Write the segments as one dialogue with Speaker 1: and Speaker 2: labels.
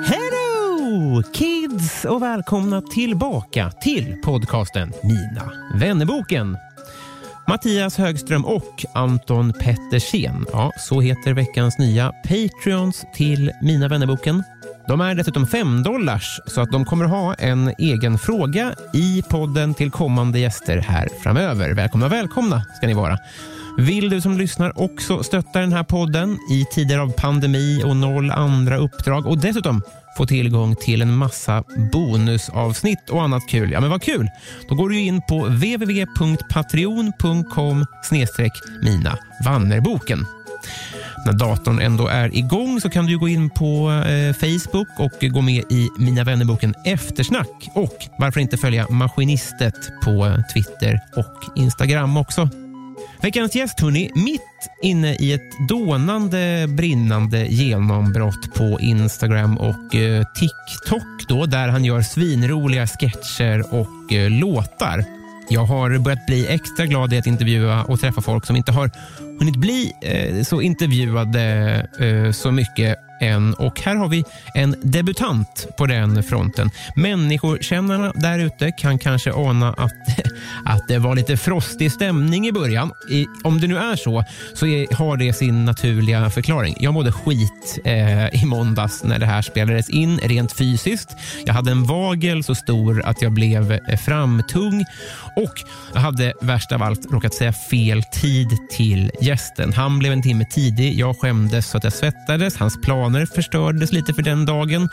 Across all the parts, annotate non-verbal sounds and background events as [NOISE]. Speaker 1: Hello kids och välkomna tillbaka till podcasten Mina vännerboken. Mattias Högström och Anton Pettersen. Ja, så heter veckans nya Patreons till Mina vännerboken. De är dessutom 5 dollars så att de kommer ha en egen fråga i podden till kommande gäster här framöver. Välkomna, välkomna ska ni vara. Vill du som lyssnar också stötta den här podden i tider av pandemi och noll andra uppdrag och dessutom få tillgång till en massa bonusavsnitt och annat kul. Ja, men vad kul! Då går du in på www.patreon.com mina vannerboken. När datorn ändå är igång så kan du gå in på eh, Facebook och gå med i Mina vännerboken Eftersnack och varför inte följa Maskinistet på eh, Twitter och Instagram också. Veckans gäst, hörni, mitt inne i ett dånande, brinnande genombrott på Instagram och eh, TikTok då, där han gör svinroliga sketcher och eh, låtar. Jag har börjat bli extra glad i att intervjua och träffa folk som inte har hunnit bli eh, så intervjuade eh, så mycket än. Och här har vi en debutant på den fronten. Människokännarna där ute kan kanske ana att, [LAUGHS] att det var lite frostig stämning i början. I, om det nu är så, så är, har det sin naturliga förklaring. Jag mådde skit eh, i måndags när det här spelades in, rent fysiskt. Jag hade en vagel så stor att jag blev eh, framtung och jag hade värst av allt råkat säga fel tid till gästen. Han blev en timme tidig. Jag skämdes så att jag svettades. Hans planer förstördes lite för den dagen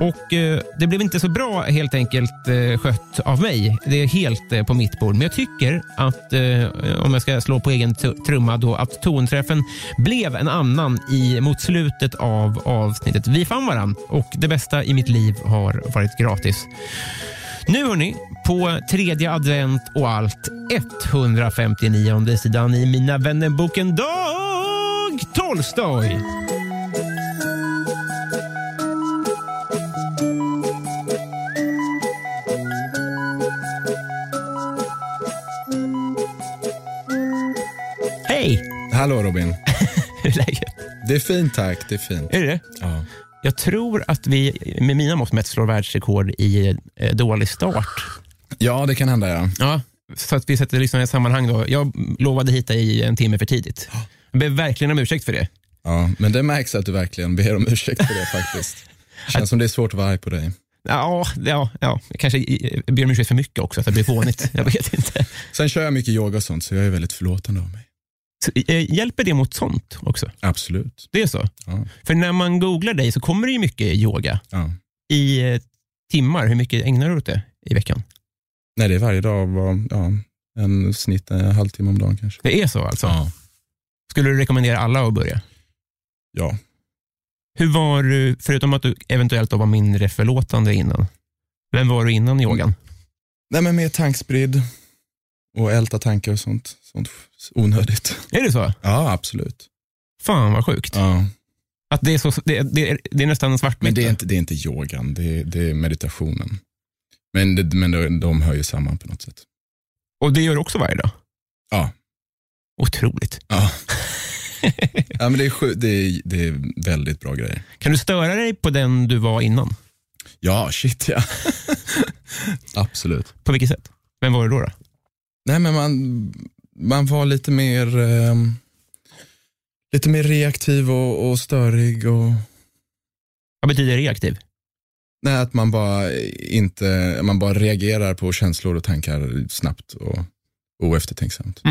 Speaker 1: och eh, det blev inte så bra helt enkelt eh, skött av mig. Det är helt eh, på mitt bord, men jag tycker att eh, om jag ska slå på egen tu- trumma då att tonträffen blev en annan i, mot slutet av avsnittet. Vi fann varann och det bästa i mitt liv har varit gratis. Nu hörni, på tredje advent och allt 159 sidan i Mina vännerboken Dag Tolstoj. Hej! [LAUGHS]
Speaker 2: Hallå Robin.
Speaker 1: Hur är läget?
Speaker 2: Det är fint tack, det är fint.
Speaker 1: Är det det?
Speaker 2: Ja.
Speaker 1: Jag tror att vi med mina mått mätt slår världsrekord i eh, dålig start.
Speaker 2: ja, det kan hända ja.
Speaker 1: Ja, så att vi sätter lyssnarna i sammanhang då. Jag lovade hit dig en timme för tidigt. Jag ber verkligen om ursäkt för det.
Speaker 2: ja. Men det märks att du verkligen ber om ursäkt för det faktiskt. Känns som det är svårt [LAUGHS] att vara arg på dig.
Speaker 1: Ja, ja, ja. Jag kanske eh, ber om ursäkt för mycket också, att det blir
Speaker 2: [LAUGHS]
Speaker 1: fånigt. Jag vet inte.
Speaker 2: Sen kör jag mycket yoga och sånt, så jag är väldigt förlåtande av mig.
Speaker 1: Så, eh, hjälper det mot sånt också?
Speaker 2: Absolut.
Speaker 1: Det är så?
Speaker 2: Ja.
Speaker 1: För när man googlar dig så kommer det ju mycket yoga
Speaker 2: Ja.
Speaker 1: i eh, timmar. Hur mycket ägnar du åt det i veckan?
Speaker 2: Nej, det är varje dag, var, ja, en snitt en halvtimme om dagen kanske.
Speaker 1: Det är så alltså?
Speaker 2: Ja.
Speaker 1: Skulle du rekommendera alla att börja?
Speaker 2: ja.
Speaker 1: Hur var du, förutom att du eventuellt då var mindre förlåtande innan, vem var du innan yogan?
Speaker 2: Nej, men mer tankspridd och älta tankar och sånt. Sånt onödigt.
Speaker 1: Är det så?
Speaker 2: Ja, absolut.
Speaker 1: Fan vad sjukt.
Speaker 2: Ja.
Speaker 1: Att det, är så, det, det, är- det är nästan en svartvitt.
Speaker 2: Men det är inte, det är inte yogan, det är, det är meditationen. Men, det, men de, de hör ju samman på något sätt.
Speaker 1: Och det gör du också varje dag?
Speaker 2: Ja.
Speaker 1: Otroligt.
Speaker 2: Ja. ja, men det är, sju, det, är, det är väldigt bra grejer.
Speaker 1: Kan du störa dig på den du var innan?
Speaker 2: Ja, shit ja. Absolut.
Speaker 1: På vilket sätt? Vem var det då? då?
Speaker 2: Nej men man, man var lite mer ehm, lite mer reaktiv och, och störig och
Speaker 1: Vad betyder reaktiv?
Speaker 2: nej, att man bara inte, man bara reagerar på känslor och tankar snabbt och oeftertänksamt.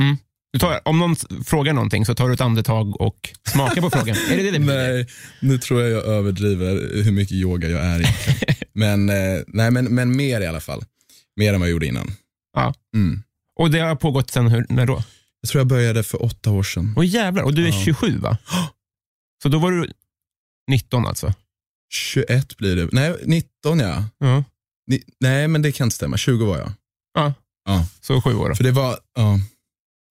Speaker 1: Du tar, om någon s- frågar någonting så tar du ett andetag och smakar på frågan. Är det det det betyder?
Speaker 2: Nej, nu tror jag jag överdriver hur mycket yoga jag är
Speaker 1: [LAUGHS]
Speaker 2: egentligen. men, eh, nej, men, men mer i alla fall. Mer än vad jag gjorde innan.
Speaker 1: Ja.
Speaker 2: Mm.
Speaker 1: Och det har pågått sen hur, när då?
Speaker 2: Jag tror jag började för åtta år sedan.
Speaker 1: Åh jävlar, och du är
Speaker 2: Ja.
Speaker 1: 27 va? Så då var du 19 alltså?
Speaker 2: 21 blir det. Nej, 19 ja.
Speaker 1: Ja.
Speaker 2: Ni, nej, men det kan inte stämma. 20 var jag.
Speaker 1: ja.
Speaker 2: Ja.
Speaker 1: Så sju år. då.
Speaker 2: För det var, ja,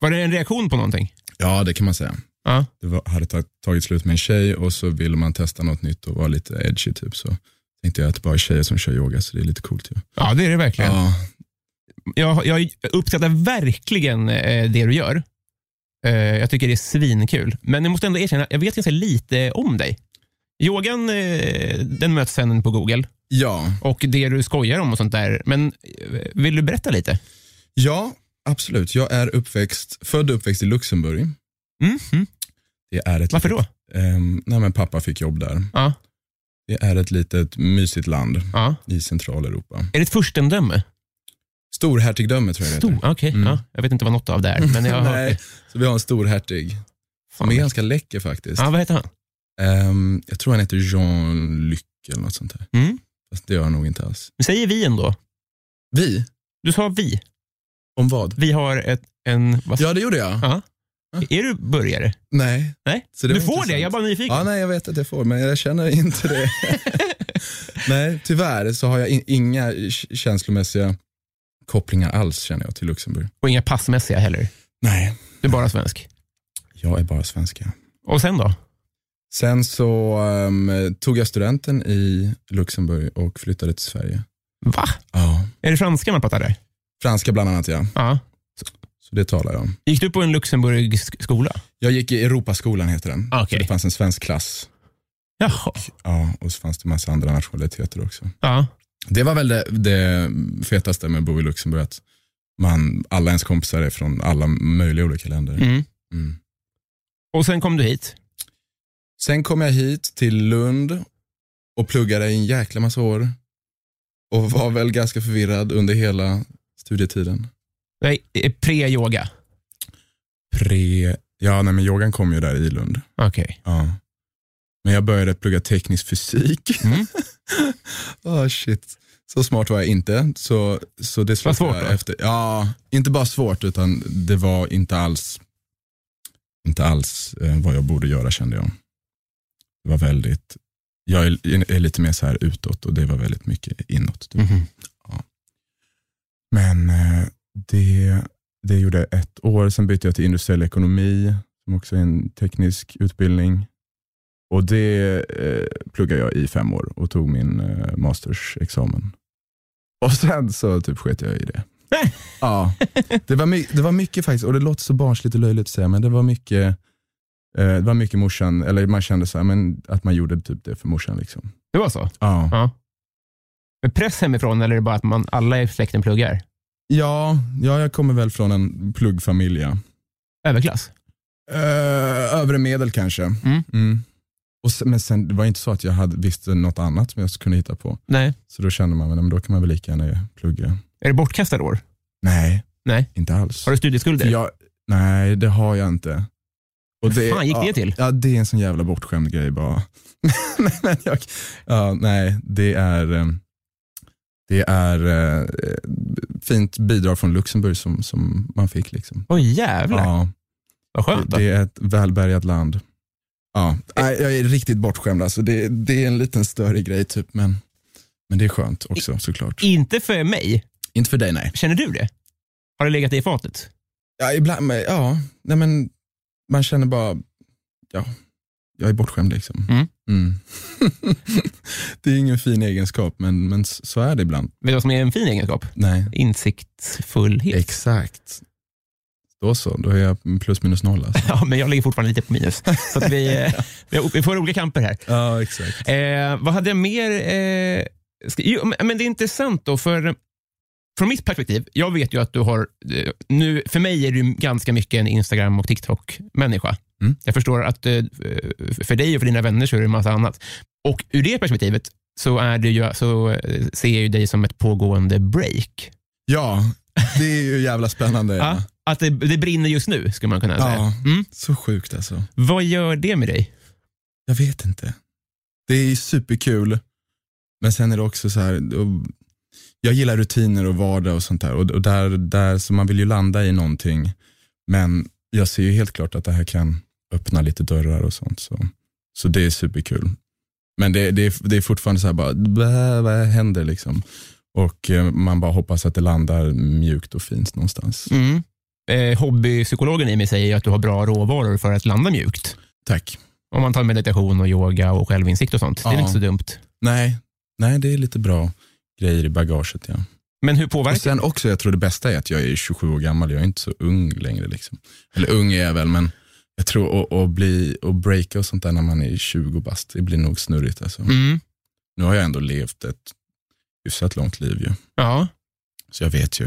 Speaker 1: Var det en reaktion på någonting?
Speaker 2: ja det kan man säga.
Speaker 1: Ja.
Speaker 2: Det var, hade tag, tagit slut med en tjej och så ville man testa något nytt och vara lite edgy typ. Så tänkte jag att det bara är tjejer som kör yoga så det är lite coolt ju.
Speaker 1: Ja, det är det verkligen.
Speaker 2: Ja,
Speaker 1: Jag, jag uppskattar verkligen eh, det du gör. Eh, jag tycker det är svinkul. Men jag måste ändå erkänna, jag vet ganska lite om dig. Yogan, eh, den möts sen på Google
Speaker 2: ja,
Speaker 1: och det du skojar om och sånt där. Men eh, vill du berätta lite?
Speaker 2: ja absolut. Jag är uppväxt, född och uppväxt i Luxemburg.
Speaker 1: Mm. Mm.
Speaker 2: Det är ett
Speaker 1: Varför då?
Speaker 2: Ehm, nej men pappa fick jobb där.
Speaker 1: Ja.
Speaker 2: Det är ett litet mysigt land
Speaker 1: Ja.
Speaker 2: i Centraleuropa.
Speaker 1: Är det ett furstendöme?
Speaker 2: Storhertigdöme tror jag det
Speaker 1: Stor?
Speaker 2: heter.
Speaker 1: Okej.
Speaker 2: Mm.
Speaker 1: Ja, jag vet inte vad något av det
Speaker 2: [LAUGHS]
Speaker 1: är. Men jag har...
Speaker 2: nej, så vi har en storhertig som är ganska läcker faktiskt.
Speaker 1: Ja, vad heter han?
Speaker 2: Ehm, jag tror han heter Jean-Luc eller något sånt där.
Speaker 1: Mm.
Speaker 2: Fast det gör han nog inte alls.
Speaker 1: Nu säger vi ändå.
Speaker 2: Vi?
Speaker 1: Du sa vi.
Speaker 2: Om vad?
Speaker 1: Vi har ett, en... Vad,
Speaker 2: Ja, det gjorde jag.
Speaker 1: Ja. Är du burgare?
Speaker 2: Nej.
Speaker 1: Nej?
Speaker 2: Så det
Speaker 1: du
Speaker 2: var
Speaker 1: får det,
Speaker 2: intressant.
Speaker 1: jag är bara nyfiken.
Speaker 2: Ja, nej, jag vet att jag får, men jag känner
Speaker 1: [LAUGHS]
Speaker 2: inte det. nej, tyvärr så har jag in, inga k- känslomässiga kopplingar alls känner jag till Luxemburg.
Speaker 1: Och inga passmässiga heller.
Speaker 2: Nej,
Speaker 1: Du är bara svensk.
Speaker 2: jag är bara svenska.
Speaker 1: Och sen då?
Speaker 2: Sen så ehm, tog jag studenten i Luxemburg och flyttade till Sverige.
Speaker 1: Va?
Speaker 2: Ja.
Speaker 1: Är det franska man pratar där?
Speaker 2: Franska bland annat ja,
Speaker 1: Ja.
Speaker 2: så det talar jag om.
Speaker 1: Gick du på en Luxemburgsk skola?
Speaker 2: Jag gick i Europaskolan heter den.
Speaker 1: Ah, okej.
Speaker 2: Så det fanns en svensk klass
Speaker 1: Jaha.
Speaker 2: ja, och så fanns det massa andra nationaliteter också.
Speaker 1: Ja.
Speaker 2: Det var väl det, det fetaste med att bo i Luxemburg, att man, alla ens kompisar är från alla möjliga olika länder.
Speaker 1: Mm.
Speaker 2: Mm.
Speaker 1: Och sen kom du hit?
Speaker 2: Sen kom jag hit till Lund och pluggade i en jäkla massa år och var väl ganska förvirrad under hela studietiden.
Speaker 1: Nej, det är pre-yoga.
Speaker 2: Pre... Ja, nej, men yogan kom ju där i Lund.
Speaker 1: Okej.
Speaker 2: Ja. Men jag började plugga teknisk fysik.
Speaker 1: Mm.
Speaker 2: [LAUGHS] Ah shit. Så smart var jag inte. Så, så det slutade
Speaker 1: svårt
Speaker 2: jag
Speaker 1: då?
Speaker 2: efter. Ja, inte bara svårt utan det var inte alls, inte alls eh, vad jag borde göra kände jag. Det var väldigt, jag är, är lite mer så här utåt och det var väldigt mycket inåt. Typ.
Speaker 1: Mhm.
Speaker 2: Men eh, det, det gjorde jag ett år, sen bytte jag till industriell ekonomi, som också är en teknisk utbildning. Och det eh, pluggade jag i fem år och tog min eh, mastersexamen. Och sen så typ sket jag i det.
Speaker 1: Nej.
Speaker 2: ja, det var, my- det var mycket faktiskt, och det låter så barnsligt och löjligt att säga, men det var mycket eh, det var mycket morsan, eller man kände så här, men att man gjorde typ det för morsan. Liksom.
Speaker 1: Det var så?
Speaker 2: Ja.
Speaker 1: Ja. Med press hemifrån eller är det bara att man, alla i släkten pluggar?
Speaker 2: Ja, ja, jag kommer väl från en pluggfamilj. ja.
Speaker 1: Överklass?
Speaker 2: Uh, övre medel kanske.
Speaker 1: Mm.
Speaker 2: Och sen, men sen, det var inte så att jag hade, visste något annat som jag kunde hitta på.
Speaker 1: Nej.
Speaker 2: Så då kände man, men då kan man väl lika gärna plugga.
Speaker 1: Är det bortkastade år?
Speaker 2: Nej,
Speaker 1: Nej.
Speaker 2: inte alls.
Speaker 1: Har du studieskulder?
Speaker 2: jag, nej, det har jag inte. Och
Speaker 1: Hur fan gick det
Speaker 2: ja,
Speaker 1: till?
Speaker 2: Ja, det är en sån jävla bortskämd grej bara. [LAUGHS] men men jag, ja, nej, det är, eh, det är eh, fint bidrag från Luxemburg som, som man fick. Liksom.
Speaker 1: Åh jävlar,
Speaker 2: Ja.
Speaker 1: vad skönt. Eh. då.
Speaker 2: Det är ett välbärgat land. Ja, nej, jag är riktigt bortskämd. Alltså det, det är en liten större grej, typ, men, men det är skönt också såklart.
Speaker 1: Inte för mig.
Speaker 2: Inte för dig, nej.
Speaker 1: Känner du det? Har det legat dig i fatet?
Speaker 2: Ja, ibland, men, ja, nej, men man känner bara, ja, jag är bortskämd liksom.
Speaker 1: Mm.
Speaker 2: Mm. [LAUGHS] det är ingen fin egenskap, men, men s- så är det ibland.
Speaker 1: Vet du vad som är en fin egenskap?
Speaker 2: Nej.
Speaker 1: Insiktsfullhet.
Speaker 2: Exakt. Då så, då är jag plus minus noll
Speaker 1: [LAUGHS]
Speaker 2: alltså.
Speaker 1: Ja, men jag ligger fortfarande lite på minus. Så att vi,
Speaker 2: [LAUGHS]
Speaker 1: eh, vi har- vi får olika kamper här.
Speaker 2: ja, exakt.
Speaker 1: Eh, vad hade jag mer? Eh, ska, jo, men- men det är intressant då, för från mitt perspektiv, jag vet ju att du har... eh, Nu, för mig är du ganska mycket en Instagram och TikTok-människa.
Speaker 2: Mm.
Speaker 1: Jag förstår att eh, för dig och för dina vänner så är det en massa annat. Och ur det perspektivet så, är det ju, så eh, ser jag ju dig som ett pågående break.
Speaker 2: Ja, det är ju jävla spännande.
Speaker 1: Ja, att det, det brinner just nu, skulle man kunna säga.
Speaker 2: Ja.
Speaker 1: Mm.
Speaker 2: Så sjukt alltså.
Speaker 1: Vad gör det med dig?
Speaker 2: Jag vet inte. Det är superkul, men sen är det också så här, då- jag gillar rutiner och vardag och sånt där. Och, och där, där, så man vill ju landa i någonting, men jag ser ju helt klart att det här kan öppna lite dörrar och sånt. Så, så det är superkul. Men det, det, är, det är fortfarande så här, bara, "Bä, vad händer liksom? Och eh, man bara hoppas att det landar mjukt och fint någonstans.
Speaker 1: Mm. Eh, hobbypsykologen i mig säger ju att du har bra råvaror för att landa mjukt.
Speaker 2: Tack.
Speaker 1: Om man tar meditation och yoga och självinsikt och sånt. Det är
Speaker 2: Ja.
Speaker 1: inte så dumt.
Speaker 2: Nej, nej, det är lite bra grejer i bagaget. Ja.
Speaker 1: Men hur
Speaker 2: Och
Speaker 1: påverkar
Speaker 2: sen också, jag tror det bästa är att jag är 27 år gammal, jag är inte så ung längre. Liksom. Eller ung är jag väl, men jag tror att- att bli och breaka och sånt där när man är 20 bast, det blir nog snurrigt. Alltså.
Speaker 1: Mm.
Speaker 2: Nu har jag ändå levt ett hyfsat långt liv ju,
Speaker 1: Ja.
Speaker 2: så jag vet ju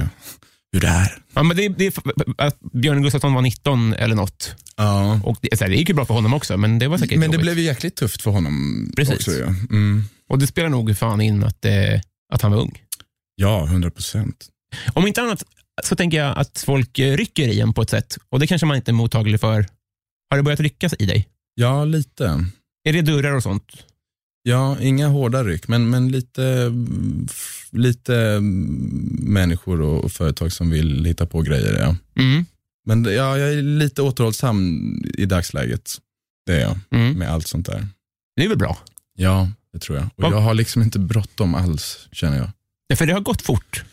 Speaker 2: hur det är.
Speaker 1: ja, men det, det är att Björn Gustafsson var 19 eller något.
Speaker 2: Ja.
Speaker 1: Och det, så här, det gick ju bra för honom också, men det var säkert
Speaker 2: Men det
Speaker 1: jobbigt.
Speaker 2: blev ju jäkligt tufft för honom
Speaker 1: Precis.
Speaker 2: också. Ja, mm.
Speaker 1: Och det spelar nog fan in att, eh, att han var ung.
Speaker 2: ja 100 procent.
Speaker 1: Om inte annat så tänker jag att folk eh, rycker i en på ett sätt och det kanske man inte är mottaglig för. Har det börjat ryckas i dig?
Speaker 2: Ja, lite.
Speaker 1: Är det dörrar och sånt?
Speaker 2: Ja, inga hårda ryck, men, men lite, mm, f- lite mm, människor och, och företag som vill hitta på grejer. Ja.
Speaker 1: Mm.
Speaker 2: Men det- ja, jag är lite återhållsam i dagsläget. Det är jag,
Speaker 1: Mm.
Speaker 2: med allt sånt där.
Speaker 1: Det är väl bra?
Speaker 2: Ja, det tror jag.
Speaker 1: Vad-
Speaker 2: Och jag har liksom inte bråttom alls, känner jag.
Speaker 1: Ja, För det har gått fort.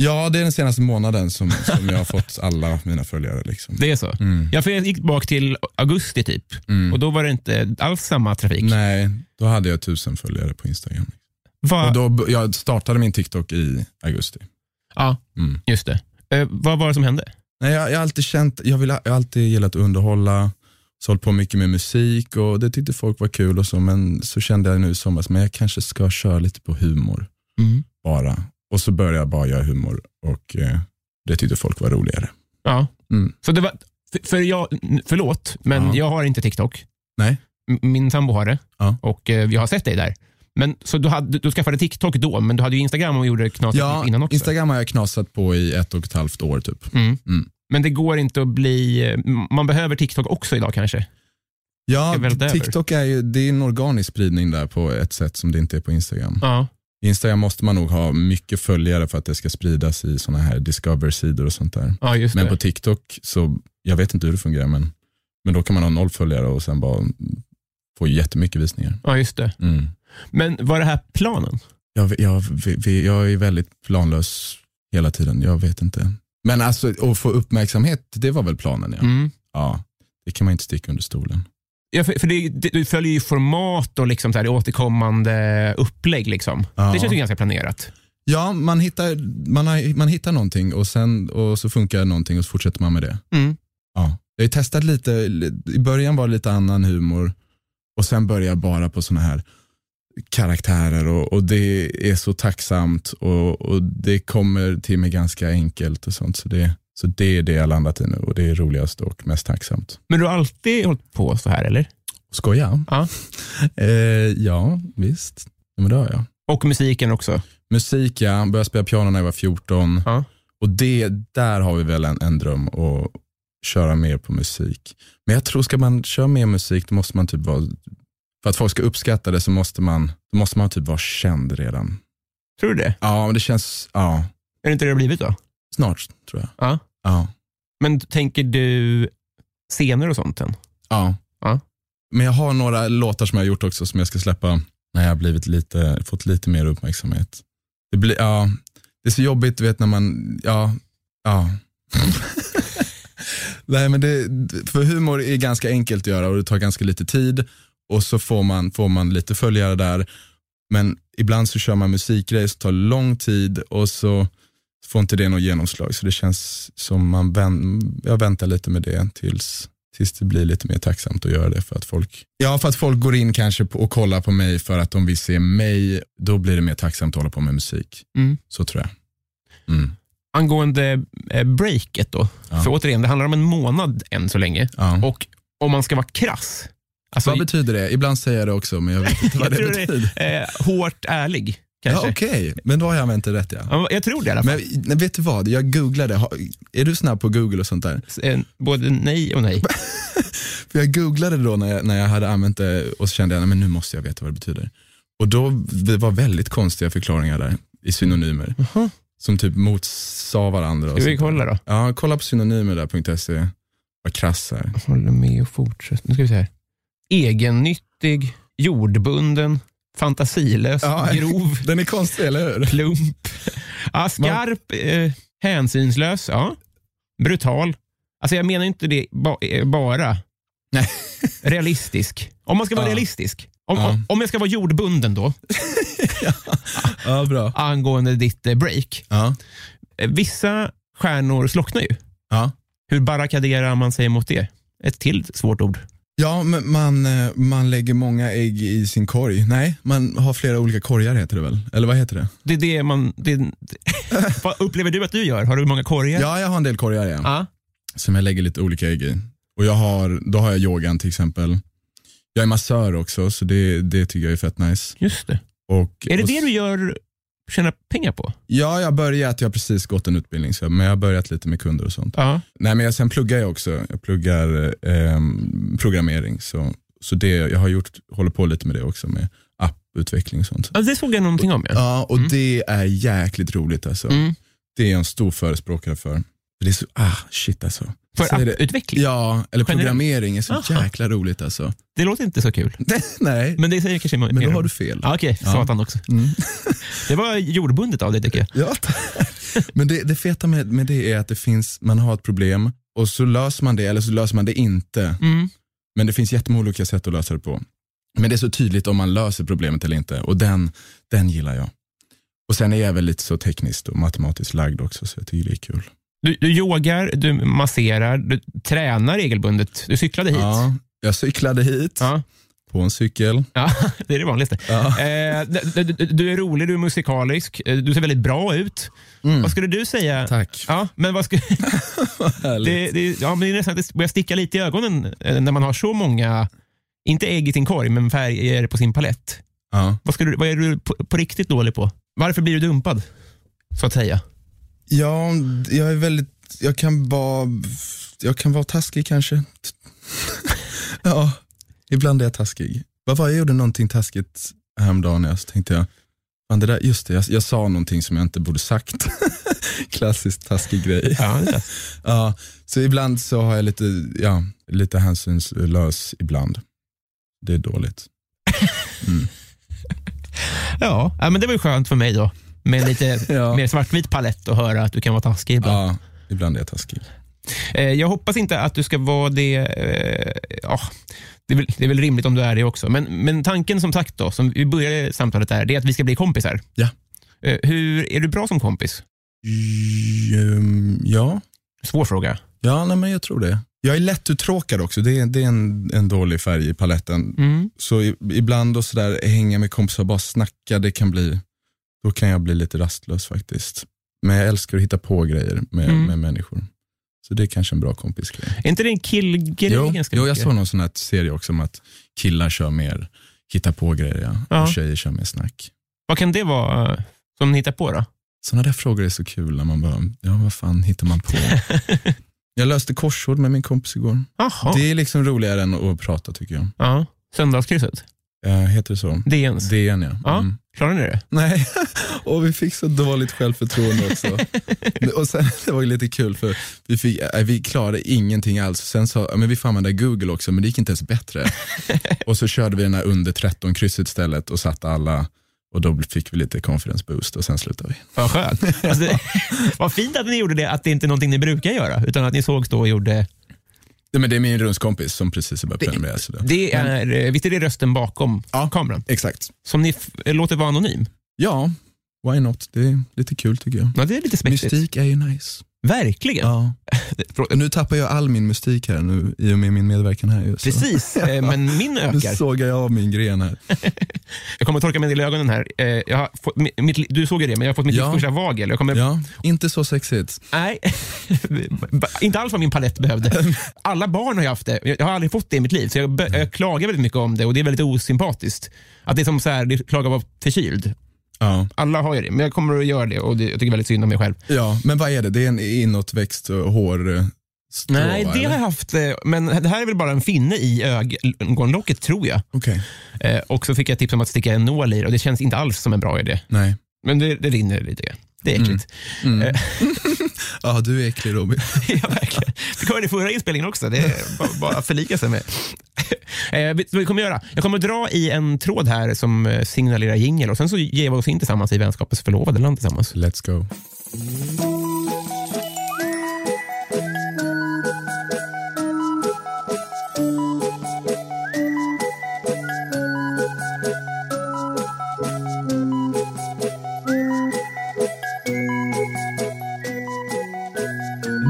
Speaker 2: Ja, det är den senaste månaden som, som jag har fått alla mina följare. Liksom.
Speaker 1: Det är så.
Speaker 2: Mm,
Speaker 1: Ja, för jag gick bak till augusti typ
Speaker 2: mm.
Speaker 1: och då var det inte alls samma trafik.
Speaker 2: Nej, då hade jag tusen följare på Instagram.
Speaker 1: Va,
Speaker 2: Och då, b- jag startade min TikTok i augusti.
Speaker 1: Ja,
Speaker 2: Mm.
Speaker 1: just det. Eh, vad var det som hände?
Speaker 2: Nej, jag, jag har alltid känt, jag, vill, jag har alltid gillat att underhålla, så hållit på mycket med musik och det tyckte folk var kul och så, men så kände jag nu i somras, men jag kanske ska köra lite på humor
Speaker 1: Mm.
Speaker 2: bara. Och så började jag bara göra humor och eh, det tyckte folk var roligare.
Speaker 1: Ja.
Speaker 2: Mm.
Speaker 1: Så det var, för, för jag, förlåt, men
Speaker 2: Ja.
Speaker 1: jag har inte TikTok.
Speaker 2: Nej.
Speaker 1: M- Min sambo har det
Speaker 2: Ja.
Speaker 1: och eh, jag har sett dig där. Men, så du, hade, du skaffade TikTok då, men du hade ju Instagram och gjorde knasigt innan också.
Speaker 2: Instagram har jag knasat på i ett och ett halvt år typ.
Speaker 1: Mm.
Speaker 2: Mm.
Speaker 1: Men det går inte att bli... eh, Man behöver TikTok också idag kanske.
Speaker 2: Ja,
Speaker 1: Ska välta över.
Speaker 2: TikTok är ju det är en organisk spridning där på ett sätt som det inte är på Instagram.
Speaker 1: Ja.
Speaker 2: Instagram måste man nog ha mycket följare för att det ska spridas i sådana här discover-sidor och sånt där.
Speaker 1: Ja, just
Speaker 2: Men
Speaker 1: det.
Speaker 2: på TikTok, så, jag vet inte hur det fungerar, men, men då kan man ha noll följare och sen bara få jättemycket visningar.
Speaker 1: Ja, just det.
Speaker 2: Mm.
Speaker 1: Men var det här planen?
Speaker 2: Jag, jag, vi- jag är väldigt planlös hela tiden, jag vet inte. Men alltså att få uppmärksamhet, det var väl planen ja.
Speaker 1: Mm.
Speaker 2: ja det kan man inte sticka under stolen.
Speaker 1: Ja, för, för det, det, du följer ju format och liksom så här, återkommande upplägg. Liksom.
Speaker 2: Ja.
Speaker 1: Det känns ju ganska planerat.
Speaker 2: Ja, man hittar, man har, man hittar någonting och, sen, och så funkar någonting och så fortsätter man med det.
Speaker 1: Mm.
Speaker 2: Ja. Jag har ju testat lite, i början var det lite annan humor och sen började jag bara på sådana här karaktärer och, och det är så tacksamt och, och det kommer till mig ganska enkelt och sånt. Så det, så det är det jag landat i nu och det är roligast och mest tacksamt.
Speaker 1: Men du har alltid hållit på så här, eller?
Speaker 2: Skoja?
Speaker 1: Ja.
Speaker 2: [LAUGHS] eh, ja, visst. Ja, men det har jag.
Speaker 1: Och musiken också.
Speaker 2: Musik, ja. Började spela piano när jag var 14.
Speaker 1: Ja.
Speaker 2: Och det, där har vi väl en, en dröm att köra mer på musik. Men jag tror ska man köra mer musik, då måste man typ vara, för att folk ska uppskatta det så måste man, då måste man typ vara känd redan.
Speaker 1: Tror du det?
Speaker 2: Ja, men det känns, ja,
Speaker 1: Är det inte det det har blivit då?
Speaker 2: snart tror jag.
Speaker 1: Ja.
Speaker 2: Ja,
Speaker 1: Men tänker du scener och sånt sen?
Speaker 2: ja.
Speaker 1: Ja.
Speaker 2: Men jag har några låtar som jag har gjort också som jag ska släppa när jag har blivit lite, fått lite mer uppmärksamhet. Det blir, ja, det är så jobbigt du vet när man, ja, ja. [LAUGHS] Nej men det, för humor är ganska enkelt att göra och det tar ganska lite tid och så får man, får man lite följare där. Men ibland så kör man musikgrejer som tar lång tid och så får inte det något genomslag så det känns som man vän, jag väntar lite med det tills, tills det blir lite mer tacksamt att göra det för att folk, ja för att folk går in kanske på, och kollar på mig för att de vill se mig, då blir det mer tacksamt att hålla på med musik.
Speaker 1: Mm.
Speaker 2: Så tror jag. Mm.
Speaker 1: Angående eh, breaket då.
Speaker 2: Ja.
Speaker 1: För återigen, det handlar om en månad än så länge.
Speaker 2: Ja.
Speaker 1: Och om man ska vara krass. Alltså,
Speaker 2: vad betyder det? Ibland säger jag det också, men jag
Speaker 1: [LAUGHS]
Speaker 2: vet inte vad
Speaker 1: jag
Speaker 2: det
Speaker 1: tror
Speaker 2: betyder.
Speaker 1: det är eh, hårt ärlig.
Speaker 2: Ja,
Speaker 1: Kanske.
Speaker 2: Okej, men då har jag använt det rätt ja.
Speaker 1: Ja, Jag tror det i alla fall.
Speaker 2: Men nej, vet du vad, jag googlade, Har- är du snabb på google och sånt där?
Speaker 1: Eh, Både nej och nej.
Speaker 2: För jag googlade då när jag, när jag hade använt det och så kände jag, nej, men nu måste jag veta vad det betyder. Och då, det var väldigt konstiga förklaringar där i synonymer. Som typ motsa varandra. Och
Speaker 1: Ska vi
Speaker 2: sånt
Speaker 1: kolla
Speaker 2: där.
Speaker 1: då?
Speaker 2: Ja, kolla på synonymer där.se. E. Vad krass här.
Speaker 1: Håller med och fortsätt. Nu ska vi se här. Egennyttig, jordbunden, fantasilös,
Speaker 2: [LAUGHS] Ja.
Speaker 1: grov,
Speaker 2: Den är konstig, eller hur?
Speaker 1: plump, ja, skarp, eh, hänsynslös, ja. brutal. Alltså jag menar inte det ba- eh, bara.
Speaker 2: Nej.
Speaker 1: Realistisk. Om man ska vara
Speaker 2: Ja.
Speaker 1: realistisk. Om,
Speaker 2: Ja.
Speaker 1: om- om jag ska vara jordbunden då,
Speaker 2: [LAUGHS] Ja, bra.
Speaker 1: angående ditt eh, break.
Speaker 2: Ja,
Speaker 1: Eh, Vissa stjärnor slocknar ju.
Speaker 2: ja.
Speaker 1: Hur barrikaderar man sig mot det? Ett till svårt ord.
Speaker 2: ja men man, eh, man lägger många ägg i sin korg. Nej, man har flera olika korgar heter det väl? Eller vad heter det?
Speaker 1: Det är det man... Det,
Speaker 2: [LAUGHS]
Speaker 1: vad upplever du att du gör? Har du många korgar?
Speaker 2: Ja, jag har en del korgar ja.
Speaker 1: Ja.
Speaker 2: som jag lägger lite olika ägg i. Och jag har, då har jag yogan till exempel. Jag är massör också, så det, det tycker jag är fett nice.
Speaker 1: Just det.
Speaker 2: Och,
Speaker 1: Är det
Speaker 2: och,
Speaker 1: det du gör tjänar pengar på?
Speaker 2: Ja, jag har börjat, jag har precis gått en utbildning, så, men jag har börjat lite med kunder och sånt.
Speaker 1: Ja.
Speaker 2: Nej, men jag, sen pluggar jag också, jag pluggar ehm, programmering. Så, så det, jag har gjort, håller på lite med det också, med apputveckling och sånt.
Speaker 1: Alltså, det såg jag någonting om. Ja.
Speaker 2: Ja, och det är jäkligt roligt alltså.
Speaker 1: Mm.
Speaker 2: Det är jag en stor förespråkare för. Det är så, ah shit alltså.
Speaker 1: För
Speaker 2: Säg det.
Speaker 1: apputveckling?
Speaker 2: Ja, eller
Speaker 1: Typ. Generellt.
Speaker 2: programmering är så
Speaker 1: Aha.
Speaker 2: jäkla roligt alltså. [LAUGHS]
Speaker 1: Det låter inte så kul.
Speaker 2: Nej,
Speaker 1: Men det säger kanske
Speaker 2: Men då har du fel.
Speaker 1: Ja, Okej,
Speaker 2: Ja.
Speaker 1: satan också.
Speaker 2: Mm.
Speaker 1: Det var jordbundet av dig tycker jag.
Speaker 2: Ja, [LAUGHS] men det, det feta med, med det är att det finns, man har ett problem och så löser man det eller så löser man det inte.
Speaker 1: Mm.
Speaker 2: Men det finns jättemånga olika sätt att lösa det på. Men det är så tydligt om man löser problemet eller inte och den, den gillar jag. Och sen är jag väl lite så tekniskt och matematiskt lagd också så jag tycker det är kul.
Speaker 1: Du, du yogar, du masserar, du tränar regelbundet. Du cyklade hit.
Speaker 2: Ja, jag cyklade hit
Speaker 1: Ja.
Speaker 2: på en cykel.
Speaker 1: Ja, [LAUGHS] det är det vanligaste.
Speaker 2: Ja.
Speaker 1: Eh, du, du, du är rolig, du är musikalisk, eh, du ser väldigt bra ut. Vad skulle du säga?
Speaker 2: Mm. Tack.
Speaker 1: Ja, men vad skulle, [LAUGHS] det, det, ja, men det är nästan att det börjar sticka lite i ögonen eh, när man har så många, inte ägg i sin korg, men färger på sin palett.
Speaker 2: Ja.
Speaker 1: Vad, skulle, du- vad är du på, på riktigt dålig på? Varför blir du dumpad? Så att säga.
Speaker 2: Ja, jag är väldigt, jag kan vara, jag kan vara taskig kanske. [LAUGHS] ja, ibland är jag taskig. Vad var jag gjorde någonting taskigt häromdagen när jag så tänkte jag, fan det där, just det, jag, jag sa någonting som jag inte borde sagt. [LAUGHS] Klassiskt taskig grej.
Speaker 1: [LAUGHS] Ja, det är det.
Speaker 2: Ja, så ibland så har jag lite, ja, lite hänsynslös ibland. Det är dåligt.
Speaker 1: ja, ja, men det var ju skönt för mig då. Med [LAUGHS] en lite
Speaker 2: Ja.
Speaker 1: mer svartvit palett att höra att du kan vara taskig ibland.
Speaker 2: Ja, ibland är jag taskig.
Speaker 1: Eh, jag hoppas inte att du ska vara det. Eh, ja, det, är väl, det är väl rimligt om du är det också. Men, men tanken som sagt, då, som vi började samtalet där, det är att vi ska bli kompisar.
Speaker 2: Ja.
Speaker 1: Eh, hur, är du bra som kompis?
Speaker 2: Ehm, Ja,
Speaker 1: Svår fråga.
Speaker 2: Ja, nej, men jag tror det. Jag är lättuttråkad också, det är, det är en, en dålig färg i paletten.
Speaker 1: Mm.
Speaker 2: Så i, ibland och sådär hänga med kompisar och bara snacka, det kan bli, då kan jag bli lite rastlös faktiskt. Men jag älskar att hitta på grejer med,
Speaker 1: Mm.
Speaker 2: med människor. Så det är kanske en bra kompisgrej.
Speaker 1: Är inte det en killgrej
Speaker 2: Jo,
Speaker 1: ganska
Speaker 2: jo, jag
Speaker 1: mycket?
Speaker 2: såg någon sån här serie också om att killar kör mer hitta på grejer ja.
Speaker 1: Ja.
Speaker 2: och tjejer kör mer snack.
Speaker 1: Vad kan det vara eh, som ni hittar på då?
Speaker 2: Sådana där frågor är så kul när man bara, ja vad fan hittar
Speaker 1: [LAUGHS]
Speaker 2: man på? jag löste korsord med min kompis igår.
Speaker 1: Jaha.
Speaker 2: Det är liksom roligare än att prata tycker jag.
Speaker 1: Ja. Söndagskrysset?
Speaker 2: Eh, heter det så?
Speaker 1: DNs?
Speaker 2: DN ja.
Speaker 1: Ja.
Speaker 2: Mm. [LAUGHS]
Speaker 1: Klarar ni det?
Speaker 2: Nej, och vi fick så dåligt självförtroende [LAUGHS] också. och sen, det var ju lite kul för vi, fick, eh, vi klarade ingenting alls. Sen sa ja, men vi får använda Google också, men det gick inte ens [LAUGHS] bättre. och så körde vi den här under 13 krysset istället och satte alla och då fick vi lite confidence boost och sen slutade vi.
Speaker 1: Vad
Speaker 2: [LAUGHS]
Speaker 1: skönt. Alltså, det, vad fint att ni gjorde det, att det inte är någonting ni brukar göra, utan att ni sågs då och gjorde...
Speaker 2: Nej, men det är min rumskompis som precis har börjat prenumerera. Så det.
Speaker 1: Det är, eh, visst är det rösten bakom kameran?
Speaker 2: Exakt.
Speaker 1: Som ni f- låter vara anonym?
Speaker 2: Ja, why not? Det är lite kul tycker jag.
Speaker 1: Ja, det är lite smäktigt.
Speaker 2: Mystik är ju nice.
Speaker 1: Verkligen.
Speaker 2: Ja.
Speaker 1: [LAUGHS]
Speaker 2: Nu tappar jag all min mystik här nu i och med min medverkan här. ju, så-
Speaker 1: Precis, eh, men
Speaker 2: [LAUGHS]
Speaker 1: min
Speaker 2: Nu
Speaker 1: ökar.
Speaker 2: sågar jag av min gren här.
Speaker 1: Jag kommer att torka mig en del i ögonen här. Eh, Jag har fått, mi- mitt, du såg ju det, men jag har fått mitt
Speaker 2: Ja.
Speaker 1: livs första vagel. Jag kommer,
Speaker 2: Ja, inte så sexigt.
Speaker 1: Nej, [LAUGHS] Ba- inte alls vad min palett behövde. Alla barn har ju haft det. Jag jag har aldrig fått det i mitt liv, så jag, be- jag klagar väldigt mycket om det och det är väldigt osympatiskt. Att det är som så här, det klagar vara förkyld.
Speaker 2: Ja.
Speaker 1: Alla har ju det, men jag kommer att göra det och det, jag tycker väldigt synd om mig själv.
Speaker 2: ja, men vad är det? Det är en inåtväxt eh, hår... eh, Strå,
Speaker 1: Nej, det har jag
Speaker 2: eller?
Speaker 1: haft, eh, men det här är väl bara en finne i ögonlocket tror jag.
Speaker 2: Okej,
Speaker 1: Eh, och så fick jag tips om att sticka en nål i det och det känns inte alls som en bra idé.
Speaker 2: nej.
Speaker 1: Men det, det rinner lite grann. Det är äckligt.
Speaker 2: Mm. ja, du är
Speaker 1: [LAUGHS]
Speaker 2: äcklig Robin.
Speaker 1: ja, verkligen. Fick höra det i förra inspelningen också. Det är bara- bara att förlika sig med. [LAUGHS] Eh, vet du vad vi kommer göra? Jag kommer dra i en tråd här som eh, signalerar jingel och sen så ger vi oss in tillsammans i vänskapens förlovade land tillsammans.
Speaker 2: Let's go.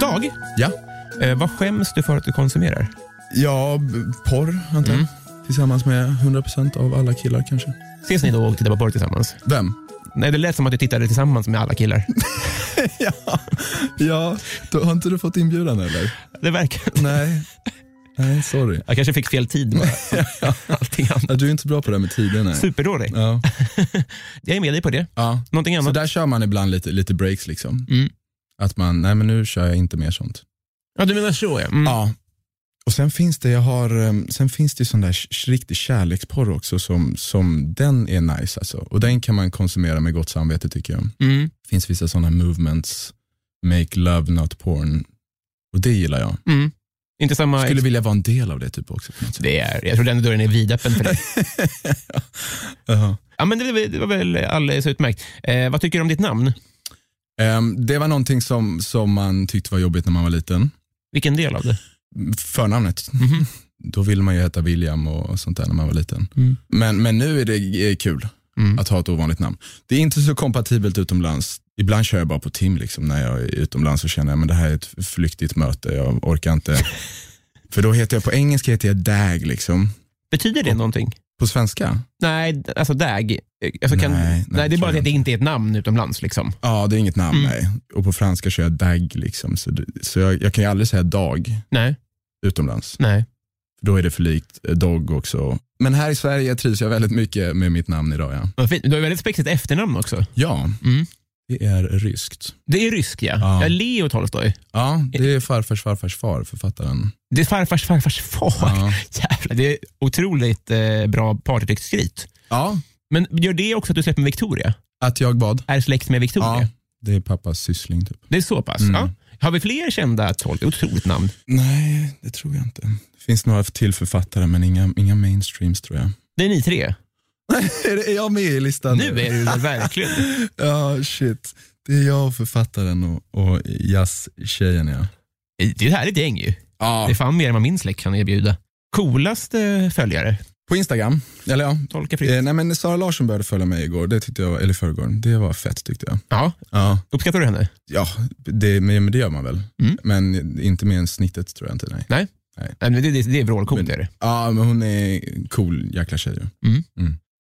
Speaker 1: Dag,
Speaker 2: Ja,
Speaker 1: eh, vad skäms du för att du konsumerar?
Speaker 2: ja b- porr antar jag.
Speaker 1: Mm.
Speaker 2: Tillsammans med 100% av alla killar kanske.
Speaker 1: Ses ni då och tittar på porr tillsammans? [LAUGHS]
Speaker 2: Vem?
Speaker 1: Nej, det lät som att du tittade tillsammans med alla killar. [LAUGHS]
Speaker 2: ja, ja. Då, har inte du fått inbjudan eller?
Speaker 1: Det verkar...
Speaker 2: Nej.
Speaker 1: [LAUGHS]
Speaker 2: Nej, sorry.
Speaker 1: Jag kanske fick fel tid med allting annat.
Speaker 2: [LAUGHS] Ja, Du är inte så bra på det här med
Speaker 1: [LAUGHS]
Speaker 2: tiderna.
Speaker 1: Superdålig.
Speaker 2: Ja.
Speaker 1: [LAUGHS] Jag är med dig på det.
Speaker 2: ja.
Speaker 1: Någonting
Speaker 2: Så
Speaker 1: annat?
Speaker 2: där kör man ibland lite, lite breaks liksom.
Speaker 1: Mm.
Speaker 2: Att man, nej men nu kör jag inte mer sånt.
Speaker 1: Ja, du menar så ja. Mm.
Speaker 2: Ja. Och sen finns det, jag har, ehm, sen finns det ju sån där sh- riktig kärleksporr också som, som den är nice alltså. Och den kan man konsumera med gott samvete tycker jag.
Speaker 1: Mm.
Speaker 2: Det finns vissa sådana movements, make love not porn. Och det gillar jag.
Speaker 1: Mm. Inte samma...
Speaker 2: Skulle vilja vara en del av det typ också. På något sätt.
Speaker 1: Det är, jag tror den dörren är vidöppen för dig.
Speaker 2: [LAUGHS] Jaha.
Speaker 1: Ja, men det, var- det var väl alldeles utmärkt. Eh, vad tycker du om ditt namn?
Speaker 2: Ehm, det var någonting som, som man tyckte var jobbigt när man var liten.
Speaker 1: Vilken del av det?
Speaker 2: Förnamnet.
Speaker 1: Mhm.
Speaker 2: [LAUGHS] Då ville man ju heta William och sånt där när man var liten.
Speaker 1: Mm.
Speaker 2: Men, men nu är det eh, kul.
Speaker 1: Mm.
Speaker 2: att ha ett ovanligt namn. Det är inte så kompatibelt utomlands. Ibland kör jag bara på Tim liksom, när jag är utomlands och känner att det här är ett flyktigt möte, jag orkar inte.
Speaker 1: [LAUGHS]
Speaker 2: För då heter jag, på engelska heter jag Dag liksom.
Speaker 1: Betyder det någonting?
Speaker 2: På svenska?
Speaker 1: Nej, d- alltså dag. Eh, Alltså, kan,
Speaker 2: Nej,
Speaker 1: nej,
Speaker 2: nej,
Speaker 1: det är
Speaker 2: tror
Speaker 1: bara
Speaker 2: jag
Speaker 1: att det inte är ett namn utomlands. Liksom.
Speaker 2: Ja, det är inget namn
Speaker 1: Mm.
Speaker 2: nej. Och på franska kör jag Dag liksom. Så, det, så jag, jag kan ju aldrig säga dag
Speaker 1: Nej,
Speaker 2: utomlands.
Speaker 1: nej.
Speaker 2: För då är det för likt eh, dog också. Men här i Sverige trivs jag väldigt mycket med mitt namn idag ja.
Speaker 1: Vad fint. Du har ju väldigt spexigt efternamn också.
Speaker 2: Ja,
Speaker 1: Mm.
Speaker 2: det är ryskt.
Speaker 1: Det är rysk, ja.
Speaker 2: Ja.
Speaker 1: ja Leo Tolstoj.
Speaker 2: Ja, det är farfars farfars far, författaren.
Speaker 1: Det är farfars farfars far.
Speaker 2: Ja.
Speaker 1: [LAUGHS] Jävlar, det är otroligt eh, bra partytrycksskryt.
Speaker 2: ja,
Speaker 1: Men gör det också att du släpper med Victoria?
Speaker 2: att jag bad.
Speaker 1: Är släkt med Victoria?
Speaker 2: Ja, det är pappas syssling typ.
Speaker 1: Det är så pass?
Speaker 2: Mm.
Speaker 1: Ja. Har vi fler kända tolkar? Otroligt namn.
Speaker 2: Nej, det tror jag inte. Det finns några till författare men inga, inga mainstreams tror jag.
Speaker 1: Det är ni tre.
Speaker 2: [LAUGHS] är jag med i listan?
Speaker 1: Nu är du väl verkligen...
Speaker 2: Ja, shit. Det är jag, författaren och, och jazztjejen ja.
Speaker 1: Det är ett härligt gäng ju. Det är
Speaker 2: Ja,
Speaker 1: fan mer än vad min släkt kan erbjuda. Coolaste följare?
Speaker 2: på Instagram. Eller ja.
Speaker 1: Tolka fritt.
Speaker 2: Eh, nej men Sara Larsson började följa mig igår, det tyckte jag, var- eller i förrgår. Det var fett tyckte jag.
Speaker 1: Ja,
Speaker 2: Ja,
Speaker 1: uppskattar du henne?
Speaker 2: ja det, men men det gör man väl.
Speaker 1: Mm.
Speaker 2: Men inte mer än snittet tror jag inte. Nej.
Speaker 1: Nej, men Det, det, det är vrålcoolt.
Speaker 2: Men-
Speaker 1: är det.
Speaker 2: Ja, men hon är cool jäkla tjej. ju.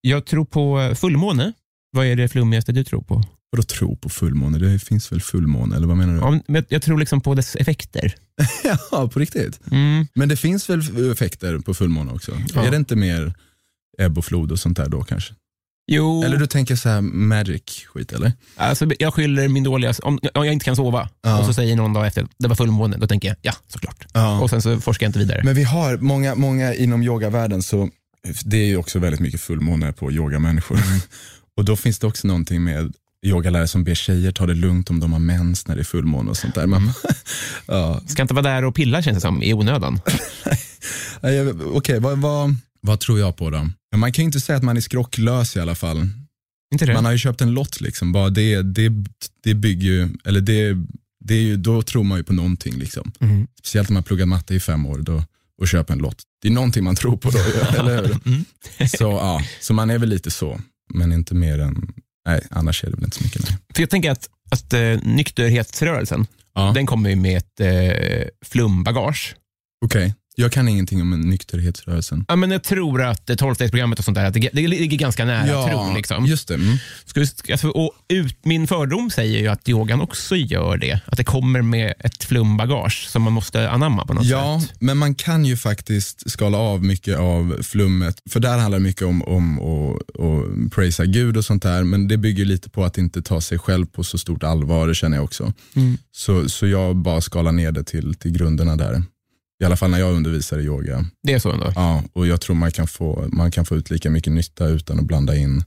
Speaker 1: Jag tror på eh, fullmåne. Vad är det flummigaste du tror på?
Speaker 2: Vadå tro på fullmåne? Det finns väl fullmåne, eller vad menar du?
Speaker 1: Ja, men jag- jag tror liksom på dess effekter.
Speaker 2: [LAUGHS] Ja, på riktigt.
Speaker 1: Mm.
Speaker 2: Men det finns väl effekter på fullmåne också?
Speaker 1: Ja.
Speaker 2: Är det inte mer ebb och flod och sånt där då kanske?
Speaker 1: Jo,
Speaker 2: Eller du tänker så här magic-skit eller?
Speaker 1: alltså, jag skyller min dåliga... Om, om jag inte kan sova
Speaker 2: Ja.
Speaker 1: och så säger någon dag efter det var fullmåne, då tänker jag ja, såklart.
Speaker 2: Ja.
Speaker 1: Och sen så forskar jag inte vidare.
Speaker 2: Men vi har, många, många inom yogavärlden så, det är ju också väldigt mycket fullmåne på yogamänniskor. [LAUGHS] Och då finns det också någonting med yogalärare som ber tjejer ta det lugnt om de har mens när det är fullmåne och sånt där. Man, [LAUGHS] ja.
Speaker 1: Ska inte vara där och pilla känns det som, i
Speaker 2: [LAUGHS]
Speaker 1: onödan.
Speaker 2: Nej, jag- Okej, vad, vad, vad tror jag på då? Ja, Man kan ju inte säga att man är skrocklös i alla fall.
Speaker 1: inte det?
Speaker 2: Man har ju köpt en lott liksom. Bara det, det, det bygger ju, eller det, det är ju, då tror man ju på någonting liksom.
Speaker 1: Mm.
Speaker 2: Speciellt om man pluggat matte i fem år då, och köper en lott. Det är någonting man
Speaker 1: [LAUGHS]
Speaker 2: tror på då, eller hur?
Speaker 1: Mm.
Speaker 2: Så, ja, så man är väl lite så, men inte mer än, nej annars är det väl inte så mycket. Nej.
Speaker 1: För jag tänker att, att eh, nykterhetsrörelsen,
Speaker 2: Ja.
Speaker 1: Den kommer ju med ett eh, flumbagage.
Speaker 2: Okej, jag kan ingenting om nykterhetsrörelsen.
Speaker 1: Ja, men jag tror att eh, 12-stegsprogrammet och sånt där, att det, det ligger ganska nära tron. Liksom.
Speaker 2: just det. Mm.
Speaker 1: Ska vi, alltså, och ut, min fördom säger ju att yogan också gör det. Att det kommer med ett flumbagage som man måste anamma på något
Speaker 2: Ja,
Speaker 1: sätt.
Speaker 2: men man kan ju faktiskt skala av mycket av flummet. För där handlar det mycket om att om, och, och prisa Gud och sånt där. Men det bygger ju lite på att inte ta sig själv på så stort allvar, det känner jag också.
Speaker 1: Mm.
Speaker 2: Så, så jag bara skalar ner det till, till grunderna där. I alla fall när jag undervisar i yoga.
Speaker 1: Det är så ändå.
Speaker 2: Ja, och jag tror man kan, få, man kan få ut lika mycket nytta utan att blanda in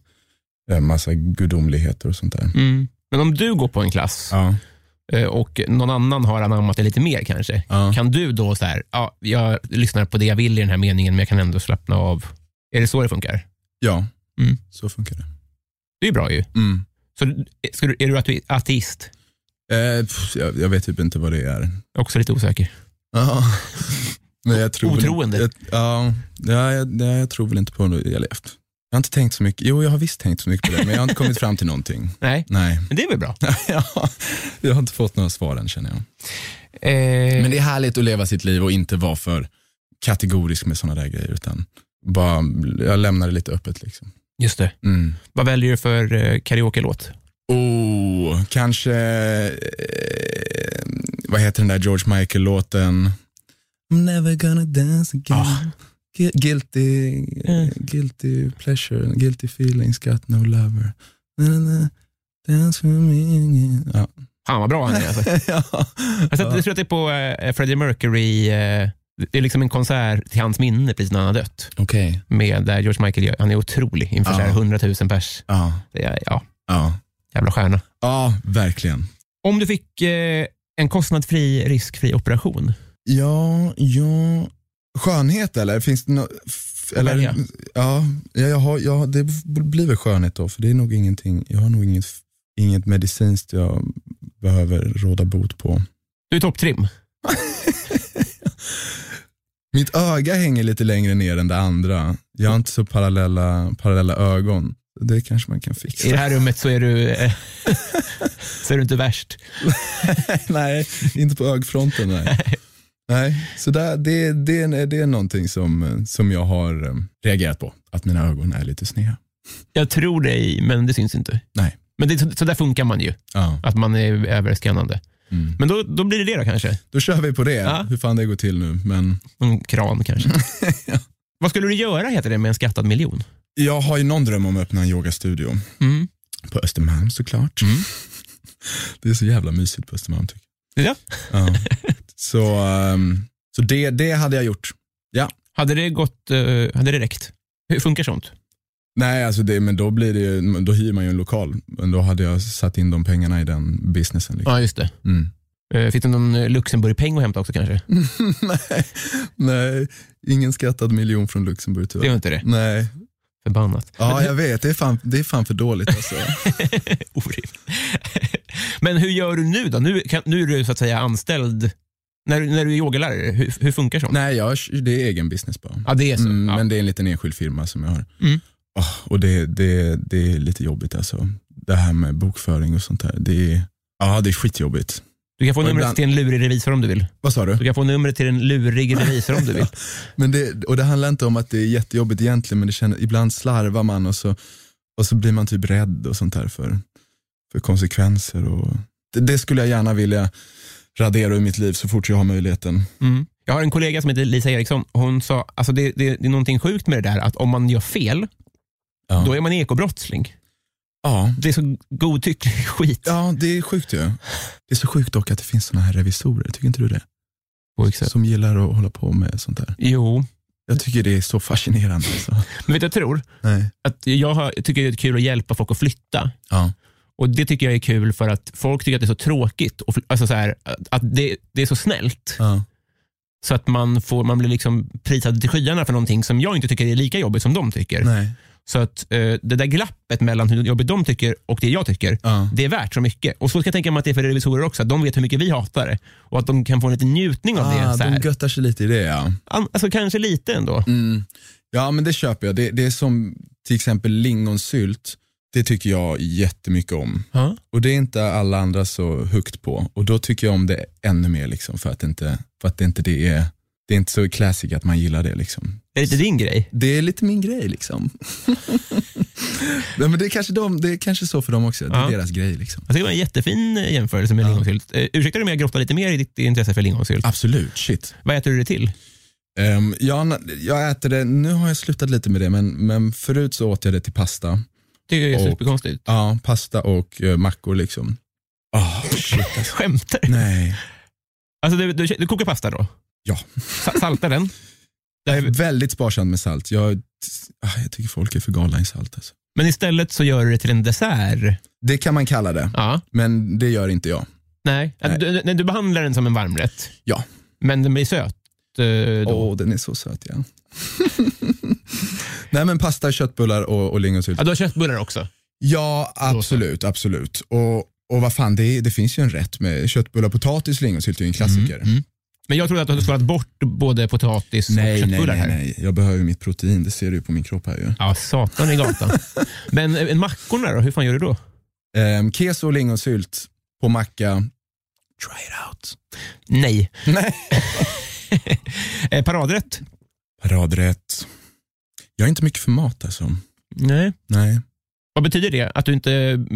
Speaker 2: en massa gudomligheter och sånt där.
Speaker 1: Mm. Men om du går på en klass
Speaker 2: Ja,
Speaker 1: eh, och någon annan har anammat det lite mer kanske,
Speaker 2: ja.
Speaker 1: kan du då så här, ja, jag lyssnar på det jag vill i den här meningen, men jag kan ändå slappna av. Är det så det funkar?
Speaker 2: ja.
Speaker 1: Mm.
Speaker 2: så funkar det.
Speaker 1: Det är bra ju.
Speaker 2: Mm.
Speaker 1: Så, ska du, är du ate- ateist?
Speaker 2: Eh, pff, jag, jag vet typ inte vad det är.
Speaker 1: Också lite osäker.
Speaker 2: [LAUGHS] Ja. Men jag tror väl
Speaker 1: Otroende.
Speaker 2: Inte, jag, ja, ja, jag, nej, jag tror väl inte på något. Eller, jag har inte tänkt så mycket. Jo, jag har visst tänkt så mycket på det, men jag har inte kommit fram till någonting.
Speaker 1: Nej,
Speaker 2: Nej, [LAUGHS]
Speaker 1: men det är väl bra.
Speaker 2: Ja, jag har inte fått några svar än känner jag.
Speaker 1: Eh,
Speaker 2: Men det är härligt att leva sitt liv och inte vara för kategorisk med sådana där grejer. Utan bara, jag lämnar det lite öppet. Liksom.
Speaker 1: Just det.
Speaker 2: Mm.
Speaker 1: Vad väljer du för eh, karaoke-låt?
Speaker 2: Oh, kanske, eh, vad heter den där George Michael-låten? I'm never gonna dance again.
Speaker 1: Ah.
Speaker 2: Gu- Guilty,
Speaker 1: Mm.
Speaker 2: guilty pleasure, guilty feelings, got no lover. Na, na, na, Dance with me. Ja.
Speaker 1: Fan vad bra han är. Alltså.
Speaker 2: [LAUGHS] ja.
Speaker 1: Alltså, Jag tror att det är på eh, Freddie Mercury, eh, det är liksom en konsert till hans minne precis när han har dött.
Speaker 2: Okej.
Speaker 1: Med där George Michael, gör- han är otrolig inför
Speaker 2: Ja.
Speaker 1: så här 100 000 pers.
Speaker 2: Ja,
Speaker 1: Det är, ja,
Speaker 2: ja.
Speaker 1: jävla stjärna.
Speaker 2: ja, verkligen.
Speaker 1: Om du fick eh, en kostnadsfri, riskfri operation,
Speaker 2: Ja, ja. Skönhet eller? Finns det nå- f- eller,
Speaker 1: välja.
Speaker 2: ja, ja, jag har, jag, har- det blir väl skönhet då, för det är nog ingenting, jag har nog inget, inget medicinskt jag behöver råda bot på.
Speaker 1: du är topptrim.
Speaker 2: Mitt öga hänger lite längre ner än det andra. Jag har inte så parallella, parallella ögon. Det kanske man kan fixa.
Speaker 1: I det här rummet så är du, eh, [LAUGHS] så är du inte värst.
Speaker 2: [LAUGHS] nej, inte på
Speaker 1: [LAUGHS]
Speaker 2: ögfronten. Nej. nej. Så där, det, det, är- det är någonting som, eh, som jag har eh, reagerat på, att mina ögon är lite sneda.
Speaker 1: Jag tror dig, men det syns inte.
Speaker 2: Nej.
Speaker 1: Men det, så, så där funkar man ju,
Speaker 2: Ja.
Speaker 1: att man är överskannande.
Speaker 2: Mm.
Speaker 1: Men då, då blir det det då kanske.
Speaker 2: Då kör vi på det,
Speaker 1: Ja.
Speaker 2: hur fan det går till nu. Men
Speaker 1: En kran kanske.
Speaker 2: [LAUGHS] Ja.
Speaker 1: Vad skulle du göra heter det med en skattad miljon?
Speaker 2: jag har ju någon dröm om att öppna en yogastudio.
Speaker 1: Mm.
Speaker 2: På Östermalm såklart. [LAUGHS] Det är så jävla mysigt på Östermalm tycker
Speaker 1: Ja.
Speaker 2: jag.
Speaker 1: [LAUGHS]
Speaker 2: Ja. så ehm, så det, det hade jag gjort.
Speaker 1: Hade det gått, eh, hade det räckt? Hur funkar sånt?
Speaker 2: Nej, alltså det, men då, blir det ju, då hyr man ju en lokal. Men då hade jag satt in de pengarna i den businessen. Liksom.
Speaker 1: Ja, just det.
Speaker 2: Mm.
Speaker 1: Eh, Fick du någon eh, Luxemburgpeng att hämta också kanske?
Speaker 2: [LAUGHS] nej, nej, ingen skattad miljon från Luxemburg
Speaker 1: Det
Speaker 2: tyvärr.
Speaker 1: var inte det.
Speaker 2: Nej,
Speaker 1: Förbannat.
Speaker 2: Mm. ja jag vet, det är fan, det är fan för dåligt alltså.
Speaker 1: [LAUGHS] Orimligt. [LAUGHS] Men hur gör du nu då? Nu, kan, nu är du så att säga anställd. När, du- när du är yogalärare, hur, hur funkar sånt?
Speaker 2: nej, jag, det är egen business bara.
Speaker 1: Ja, det är så.
Speaker 2: Mm,
Speaker 1: ja.
Speaker 2: Men det är en liten enskild firma som jag har.
Speaker 1: Mm.
Speaker 2: Åh, och det, det, det är lite jobbigt alltså. Det här med bokföring och sånt där. Det är, ja, det är skitjobbigt.
Speaker 1: Du kan få
Speaker 2: Och
Speaker 1: numret
Speaker 2: ibland-
Speaker 1: till en lurig revisor om du vill.
Speaker 2: Vad sa du?
Speaker 1: Du kan få numret till en lurig revisor om du
Speaker 2: [LAUGHS]
Speaker 1: vill.
Speaker 2: Men det, och det handlar inte om att det är jättejobbigt egentligen, men det känner, ibland slarvar man och så, och så blir man typ rädd och sånt där för, för konsekvenser. Och, det, det skulle jag gärna vilja radera ur mitt liv så fort jag har möjligheten.
Speaker 1: Mm. Jag har en kollega som heter Lisa Eriksson. Hon sa, alltså det, det, det är någonting sjukt med det där att om man gör fel,
Speaker 2: Ja,
Speaker 1: då är man ekobrottsling.
Speaker 2: ja.
Speaker 1: Det är så godtycklig [LAUGHS] skit.
Speaker 2: ja det är sjukt ju. Det är så sjukt dock att det finns såna här revisorer, tycker inte du det? Som gillar att hålla på med sånt där.
Speaker 1: Jo,
Speaker 2: Jag tycker det är så fascinerande. Så.
Speaker 1: men vet du, jag tror
Speaker 2: Nej.
Speaker 1: att jag har, tycker det är kul att hjälpa folk att flytta.
Speaker 2: Ja.
Speaker 1: Och Det tycker jag är kul för att folk tycker att det är så tråkigt. Och, fly- alltså så här, att- att det, det är så snällt.
Speaker 2: Ja.
Speaker 1: Så att man, får, man blir liksom prisad till skyarna för någonting som jag inte tycker är lika jobbigt som de tycker.
Speaker 2: Nej.
Speaker 1: Så att eh, det där glappet mellan hur jobbigt de tycker och det jag tycker,
Speaker 2: Ja.
Speaker 1: det är värt så mycket. Och så ska jag tänka mig att det är för revisorer också. att De vet hur mycket vi hatar det. Och att de kan få en liten njutning av
Speaker 2: Ah,
Speaker 1: det. Så här.
Speaker 2: de göttar sig lite i det ja.
Speaker 1: An- Alltså kanske lite ändå.
Speaker 2: Mm. Ja men det köper jag. Det, det är som till exempel lingonsylt Det tycker jag jättemycket om.
Speaker 1: Ja.
Speaker 2: Och det är inte alla andra så högt på. Och då tycker jag om det ännu mer liksom för att, inte, för att det inte det är, det är inte så classic att man gillar det liksom.
Speaker 1: Är det inte din grej?
Speaker 2: Det är lite min grej liksom. Nej, men det, är kanske de, det är kanske så för dem också, det är
Speaker 1: Ja.
Speaker 2: deras grej liksom.
Speaker 1: Jag tycker det var en jättefin eh, jämförelse med lingonsylt. Eh, ursäktar du om jag grottar lite mer i ditt intresse för lingonsylt?
Speaker 2: Absolut, shit.
Speaker 1: Vad äter du det till?
Speaker 2: Ehm, jag, jag äter det, nu har jag slutat lite med det, men, men förut så åt jag det till pasta.
Speaker 1: Tycker jag är
Speaker 2: Och-
Speaker 1: superkonstigt.
Speaker 2: Ja, pasta och eh, mackor liksom. Ah, shit alltså.
Speaker 1: Skämtar du?
Speaker 2: Nej.
Speaker 1: Alltså, du, du, du kokar pasta då?
Speaker 2: Ja.
Speaker 1: Sa- Saltar den? Det här är-
Speaker 2: Väldigt sparsamt med salt. Jag, ah, jag tycker folk är för galna i salt. Alltså.
Speaker 1: Men istället så gör du det till en dessert?
Speaker 2: Det kan man kalla det,
Speaker 1: Ja.
Speaker 2: men det gör inte jag.
Speaker 1: Nej. Att
Speaker 2: Nej.
Speaker 1: Du, du- du behandlar den som en varmrätt?
Speaker 2: Ja.
Speaker 1: Men den blir söt? eh,
Speaker 2: Åh,
Speaker 1: Då.
Speaker 2: den är så söt ja. [LAUGHS] Nej men pasta, köttbullar och, och lingonsylt.
Speaker 1: Ja, du har köttbullar också?
Speaker 2: Ja, absolut, absolut. Och, och vad fan, det, är- det finns ju en rätt med köttbullar, potatis, lingonsylt är ju en klassiker.
Speaker 1: Mm, Men jag trodde att du hade skalat bort både potatis och
Speaker 2: Nej, nej,
Speaker 1: köttbullar
Speaker 2: nej,
Speaker 1: här.
Speaker 2: nej. Jag behöver mitt protein, det ser du ju på min kropp här ju.
Speaker 1: Ja, satan i gatan. Men eh, mackorna då? Hur fan gör du då?
Speaker 2: Ehm, keso och lingonsylt på macka. Try it out.
Speaker 1: Nej.
Speaker 2: [LAUGHS] Nej.
Speaker 1: Eh, paradrätt?
Speaker 2: Paradrätt. Jag är inte mycket för mat alltså.
Speaker 1: Nej.
Speaker 2: Nej.
Speaker 1: Vad betyder det? Att du inte...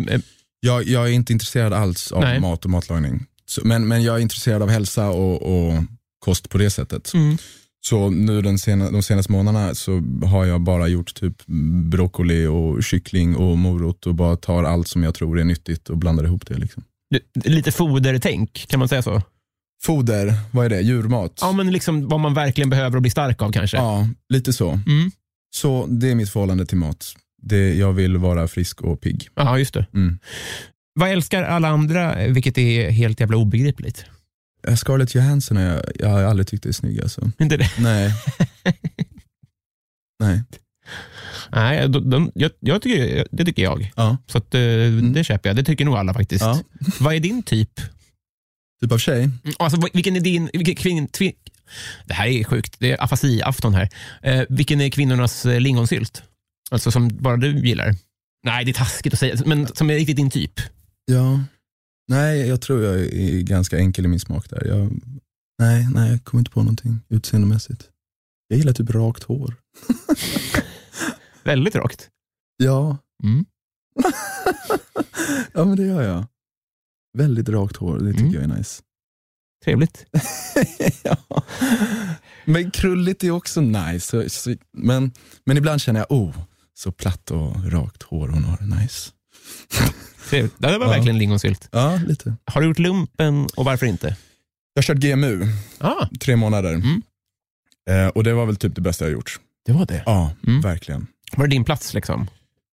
Speaker 1: eh,
Speaker 2: Jag, jag är inte intresserad alls av
Speaker 1: Nej.
Speaker 2: mat och matlagning. Så, men, men jag är intresserad av hälsa och, och kost på det sättet.
Speaker 1: Mm.
Speaker 2: Så nu den sena, de senaste månaderna så har jag bara gjort typ broccoli och kyckling och morot och bara tar allt som jag tror är nyttigt och blandar ihop det. Liksom.
Speaker 1: du- Lite fodertänk, kan man säga så?
Speaker 2: Foder, vad är det? Djurmat?
Speaker 1: Ja, men liksom vad man verkligen behöver och blir stark av kanske.
Speaker 2: Ja, lite så.
Speaker 1: Mm.
Speaker 2: Så det är mitt förhållande till mat. Det, jag vill vara frisk och pigg.
Speaker 1: Ja, just det.
Speaker 2: Mm.
Speaker 1: Vad älskar alla andra, eh, vilket är helt jävla obegripligt?
Speaker 2: Eh, Scarlett Johansson har jag, jag har aldrig tyckt det är snygg alltså.
Speaker 1: Inte det? [LAUGHS]
Speaker 2: Nej. Nej.
Speaker 1: Nej, de, de, jag, jag tycker, det tycker jag.
Speaker 2: Ja.
Speaker 1: Så att, eh, det köper jag. Det tycker nog alla faktiskt.
Speaker 2: Ja.
Speaker 1: Vad är din typ?
Speaker 2: Typ av tjej?
Speaker 1: Alltså, vad- vilken är din... Vilken kvin, tvi, det här är sjukt. Det är afasi-afton här. Eh, vilken är kvinnornas eh, lingonsylt? Alltså som bara du gillar. Nej, det är taskigt att säga, men som är riktigt din typ.
Speaker 2: Ja. Nej, jag tror jag är ganska enkel i min smak där. Jag, nej, nej, jag kommer inte på någonting utseendemässigt. Jag gillar typ rakt hår.
Speaker 1: Väldigt rakt.
Speaker 2: Ja.
Speaker 1: Mm.
Speaker 2: [LAUGHS] ja, men det gör jag. Väldigt rakt hår, det tycker
Speaker 1: Mm.
Speaker 2: jag är nice.
Speaker 1: Trevligt.
Speaker 2: [LAUGHS] ja. Men krulligt är också nice. Så, så, men, men ibland känner jag, oh, så platt och rakt hår hon har, nice.
Speaker 1: Trevligt. Ja, Det var
Speaker 2: Ja.
Speaker 1: verkligen lingonsylt.
Speaker 2: Ja, lite.
Speaker 1: Har du gjort lumpen och varför inte?
Speaker 2: Jag har kört GMU,
Speaker 1: Ah,
Speaker 2: tre månader.
Speaker 1: Mm.
Speaker 2: Eh, och det var väl typ det bästa jag har gjort.
Speaker 1: det var det.
Speaker 2: Ja,
Speaker 1: Mm.
Speaker 2: verkligen.
Speaker 1: Var det din plats liksom?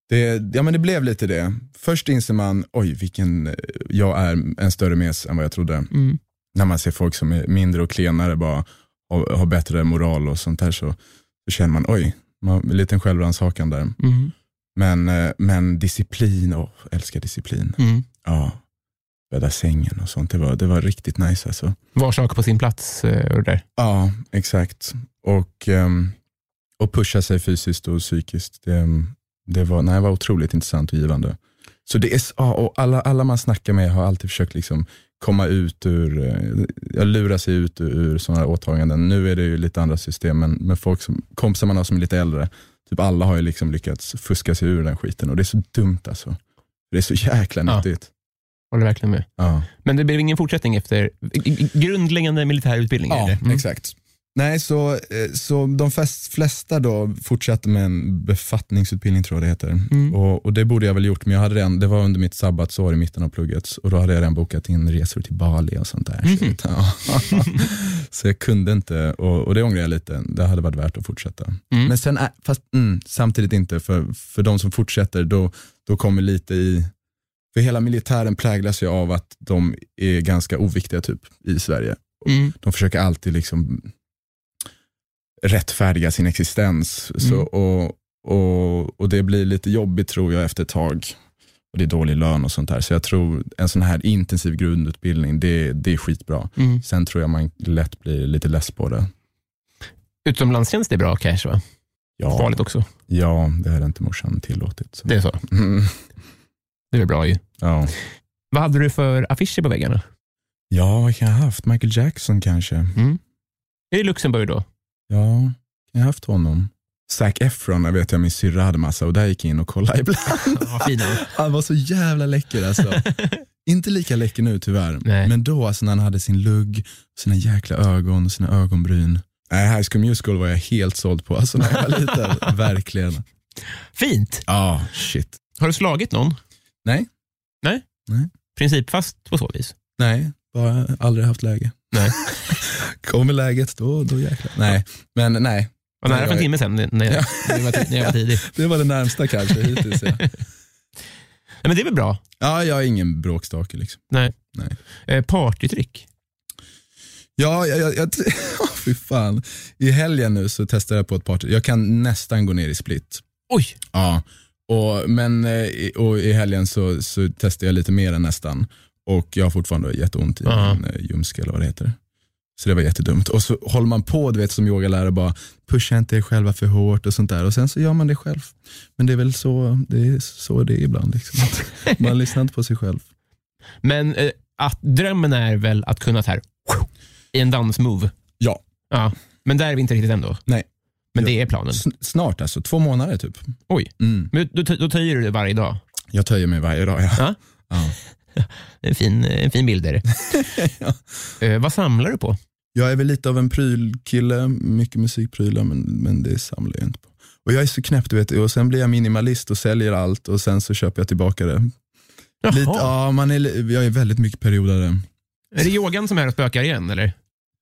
Speaker 2: Det, ja, men det blev lite det. Först inser man, oj, vilken, eh, jag är en större mes än vad jag trodde.
Speaker 1: Mm.
Speaker 2: När man ser folk som är mindre och klenare bara och har bättre moral och sånt där så, så känner man, oj, man, en liten självrannsakan där.
Speaker 1: Mm.
Speaker 2: Men, eh, men disciplin, åh, älskar disciplin.
Speaker 1: Mm.
Speaker 2: Ja, bädda sängen och sånt, det var, det var riktigt nice alltså.
Speaker 1: Var sak på sin plats eh, och det där.
Speaker 2: Ja, exakt. Och, ehm, och pusha sig fysiskt och psykiskt, det, ehm, det, var, nej, det var otroligt intressant och givande. Så det är, s- ja, och alla, alla man snackar med har alltid försökt liksom komma ut ur, eh, ja, lura sig ut ur, ur sådana här åtaganden. Nu är det ju lite andra system, men, men folk som, kompisar man har som är lite äldre, typ alla har ju liksom lyckats fuska sig ur den skiten och det är så dumt alltså. Det är så jäkla
Speaker 1: Ja.
Speaker 2: nyttigt.
Speaker 1: Håller verkligen med.
Speaker 2: Ja.
Speaker 1: Men det blev ingen fortsättning efter i- i- grundläggande militärutbildning? är
Speaker 2: Ja,
Speaker 1: det? Mm.
Speaker 2: exakt. Nej, så, eh, så de flest, flesta då fortsatte med en befattningsutbildning tror jag det heter.
Speaker 1: Mm.
Speaker 2: Och, och det borde jag väl gjort, men jag hade redan, det var under mitt sabbatsår i mitten av plugget och då hade jag redan bokat in resor till Bali och sånt där. Så,
Speaker 1: Mhm.
Speaker 2: [LAUGHS] ja. så jag kunde inte och, och det ångrar jag lite. Det hade varit värt att fortsätta.
Speaker 1: Mm.
Speaker 2: Men sen, är- fast mm, samtidigt inte, för, för de som fortsätter då, då kommer lite i för hela militären präglas ju av att de är ganska oviktiga typ i Sverige.
Speaker 1: Mm.
Speaker 2: De försöker alltid liksom rättfärdiga sin existens. Så,
Speaker 1: Mm.
Speaker 2: och, och, och det blir lite jobbigt tror jag efter ett tag. Och det är dålig lön och sånt där. Så jag tror en sån här intensiv grundutbildning, det, det är skitbra.
Speaker 1: Mm.
Speaker 2: Sen tror jag man lätt blir lite less på det.
Speaker 1: Utomlandstjänst är bra cash va?
Speaker 2: Ja,
Speaker 1: Farligt också.
Speaker 2: ja, det hade inte morsan tillåtit. Så.
Speaker 1: Det är så.
Speaker 2: Mm.
Speaker 1: Det är väl bra ju.
Speaker 2: [LAUGHS] Ja.
Speaker 1: Vad hade du för affischer på väggarna?
Speaker 2: ja, vad kan jag ha haft? Michael Jackson kanske?
Speaker 1: Är det Luxemburg då?
Speaker 2: Ja, kan jag ha haft honom? Zac Efron, jag vet jag min syrra hade massa och där gick jag in och
Speaker 1: [LAUGHS]
Speaker 2: kollade ibland.
Speaker 1: Vad fina.
Speaker 2: [LAUGHS] Han var så jävla läcker alltså.
Speaker 1: [LAUGHS]
Speaker 2: Inte lika läcker nu tyvärr,
Speaker 1: Nej.
Speaker 2: men då alltså när han hade sin lugg, sina jäkla ögon och sina ögonbryn. Nej, High School Musical var jag helt såld på alltså, när jag var
Speaker 1: [LAUGHS]
Speaker 2: liten. Verkligen.
Speaker 1: Fint.
Speaker 2: Ja, shit.
Speaker 1: Har du slagit någon?
Speaker 2: Nej.
Speaker 1: Principfast på så vis?
Speaker 2: Nej, bara aldrig haft läge.
Speaker 1: [LAUGHS] Nej.
Speaker 2: Kommer läget, då, då jäklar. Nej, men nej.
Speaker 1: Var nära
Speaker 2: Nej,
Speaker 1: för en
Speaker 2: jag-
Speaker 1: timme sen när jag,
Speaker 2: Ja.
Speaker 1: när jag, var, ti- när jag var
Speaker 2: [LAUGHS]
Speaker 1: tidig.
Speaker 2: Det var det närmsta kanske hittills. Ja,
Speaker 1: Nej, men det är väl bra.
Speaker 2: ja jag är ingen bråkstake liksom.
Speaker 1: Eh, partytrick.
Speaker 2: Ja, jag, jag, [LAUGHS] jag oh, fy fan. I helgen nu så testade jag på ett party. Jag kan nästan gå ner i split.
Speaker 1: Oj!
Speaker 2: Ja, och, men eh, i- och i helgen så, så testade jag lite mer än nästan. Och jag har fortfarande jätteont i
Speaker 1: Ja.
Speaker 2: min eh, ljumske eller vad det heter. Så det var jättedumt. Och så håller man på, du vet som yogalärare, bara pusha inte er själva för hårt och sånt där. Och sen så gör man det själv. Men det är väl så det är, så det är ibland. Liksom. Att Man lyssnar inte på sig själv.
Speaker 1: Men eh, att, drömmen är väl att kunna så här i en dansmove.
Speaker 2: Ja,
Speaker 1: Ja. Men där är vi inte riktigt än då.
Speaker 2: Nej.
Speaker 1: Men
Speaker 2: Ja.
Speaker 1: det är planen.
Speaker 2: sn- snart alltså. Två månader typ.
Speaker 1: Oj.
Speaker 2: Mm.
Speaker 1: Men då, då töjer du det varje dag.
Speaker 2: Jag töjer mig varje dag. Ja.
Speaker 1: Ja.
Speaker 2: Ja.
Speaker 1: En fin, en fin bild är [LAUGHS] det.
Speaker 2: Ja.
Speaker 1: eh, vad samlar du på?
Speaker 2: Jag är väl lite av en prylkille, mycket musikprylar men, men det samlar jag inte på. Och jag är så knäpp du vet, och sen blir jag minimalist och säljer allt och sen så köper jag tillbaka det.
Speaker 1: Jaha.
Speaker 2: Lite, ja, man är, li- jag är väldigt mycket periodare.
Speaker 1: Är det yogan som är och spökar igen? Eller?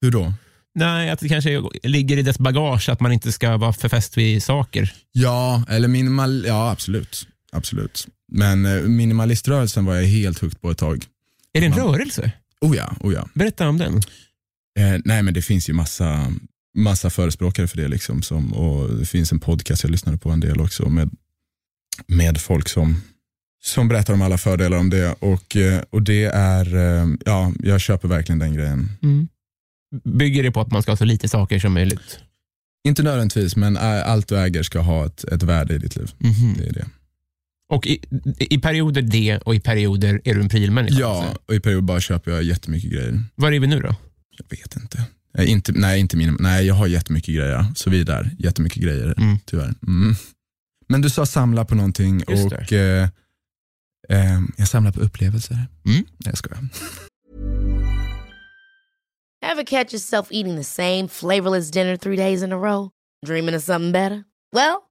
Speaker 2: Hur då?
Speaker 1: Nej, att det kanske ligger i dess bagage att man inte ska vara för fäst vid saker.
Speaker 2: Ja, eller minimal, ja absolut. absolut. Men eh, minimaliströrelsen var jag helt hooked på ett tag.
Speaker 1: Är det en
Speaker 2: Man-
Speaker 1: rörelse?
Speaker 2: Oh ja, oh ja.
Speaker 1: Berätta om den.
Speaker 2: Eh, nej men det finns ju massa, massa förespråkare för det. Liksom, som, och det finns en podcast jag lyssnade på en del också med, med folk som, som berättar om alla fördelar om det. Och, eh, och det är, eh, ja jag köper verkligen den grejen.
Speaker 1: Bygger det på att man ska ha så lite saker som möjligt?
Speaker 2: Inte nödvändigtvis men eh, allt du äger ska ha ett, ett värde i ditt liv.
Speaker 1: Mhm.
Speaker 2: Det är det.
Speaker 1: Och i, i perioder det och i perioder är du en prylmänniska?
Speaker 2: Ja,
Speaker 1: alltså.
Speaker 2: och i period bara köper jag jättemycket grejer.
Speaker 1: Var är vi nu då?
Speaker 2: Jag vet inte. Nej, inte, nej, inte min, nej jag har jättemycket grejer. Så vi är där, jättemycket grejer.
Speaker 1: Mm.
Speaker 2: tyvärr. Mm. Men du sa samla på någonting
Speaker 1: Just
Speaker 2: och eh, eh, jag samlar på upplevelser.
Speaker 1: Mm.
Speaker 2: Nej, jag skojar.
Speaker 3: Ever catch yourself eating the same flavorless dinner three days in a row? Dreaming of something better? Well,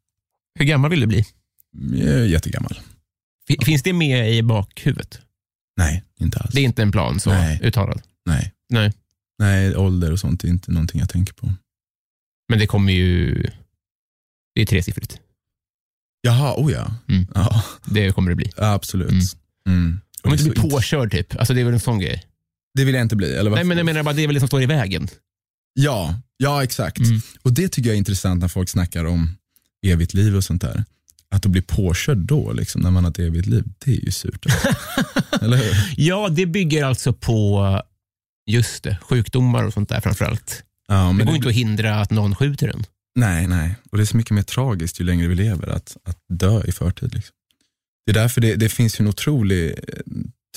Speaker 1: Hur gammal vill du bli?
Speaker 2: Jag är jättegammal.
Speaker 1: Fi- Finns det med i bakhuvudet?
Speaker 2: Nej, inte alls.
Speaker 1: Det är inte en plan så
Speaker 2: Nej.
Speaker 1: uttalad.
Speaker 2: Nej.
Speaker 1: Nej.
Speaker 2: Nej, ålder och sånt är inte någonting jag tänker på.
Speaker 1: Men det kommer ju... Det är tresiffrigt.
Speaker 2: Jaha, oh ja.
Speaker 1: Mm.
Speaker 2: ja
Speaker 1: Det kommer det bli.
Speaker 2: absolut.
Speaker 1: Mm.
Speaker 2: Mm. Och
Speaker 1: Om
Speaker 2: det
Speaker 1: inte
Speaker 2: är så
Speaker 1: blir
Speaker 2: int-
Speaker 1: påkörd typ. Alltså det är väl en sån grej.
Speaker 2: Det vill jag inte bli. Eller
Speaker 1: Nej
Speaker 2: varför?
Speaker 1: men jag menar bara det är väl det som står i vägen.
Speaker 2: Ja, ja exakt.
Speaker 1: Mm.
Speaker 2: Och det tycker jag är intressant när folk snackar om evigt liv och sånt där. Att då bli påkörd då, liksom, när man har ett evigt liv, det är
Speaker 1: [LAUGHS]
Speaker 2: ju surt. Eller hur?
Speaker 1: Ja, det bygger alltså på just det, sjukdomar och sånt där framförallt.
Speaker 2: Ja, men
Speaker 1: Det går
Speaker 2: det-
Speaker 1: inte att hindra att någon skjuter en.
Speaker 2: Nej, nej. Och det är så mycket mer tragiskt ju längre vi lever att, att dö i förtid. Liksom. Det är därför det, det finns ju en otrolig eh,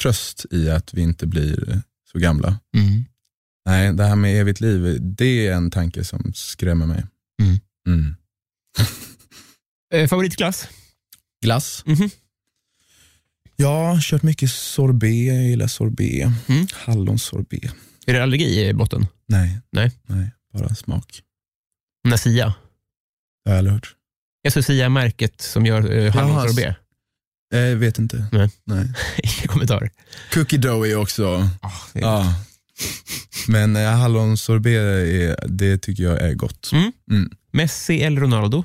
Speaker 2: tröst i att vi inte blir eh, så gamla.
Speaker 1: Mm.
Speaker 2: Nej, det här med evigt liv, det är en tanke som skrämmer mig.
Speaker 4: Mm.
Speaker 1: Eh, favoritglass?
Speaker 2: Glass.
Speaker 1: Mhm.
Speaker 2: Ja, kört mycket sorbet. Jag gillar sorbet.
Speaker 1: Mm.
Speaker 2: Hallonsorbet.
Speaker 1: Är det allergi i botten?
Speaker 2: Nej.
Speaker 1: Nej.
Speaker 2: Nej, bara smak.
Speaker 1: Nasia?
Speaker 2: Det har jag aldrig hört.
Speaker 1: Alltså Sia-märket som gör eh, hallonsorbet?
Speaker 2: Eh, vet inte.
Speaker 1: Nej. [LAUGHS]
Speaker 2: Nej.
Speaker 1: Inga kommentarer.
Speaker 2: Cookie dough är också...
Speaker 1: Ah, det är
Speaker 2: ja. Men eh, hallonsorbet, är, det tycker jag är gott.
Speaker 1: Mm.
Speaker 2: Mm.
Speaker 1: Messi eller Ronaldo?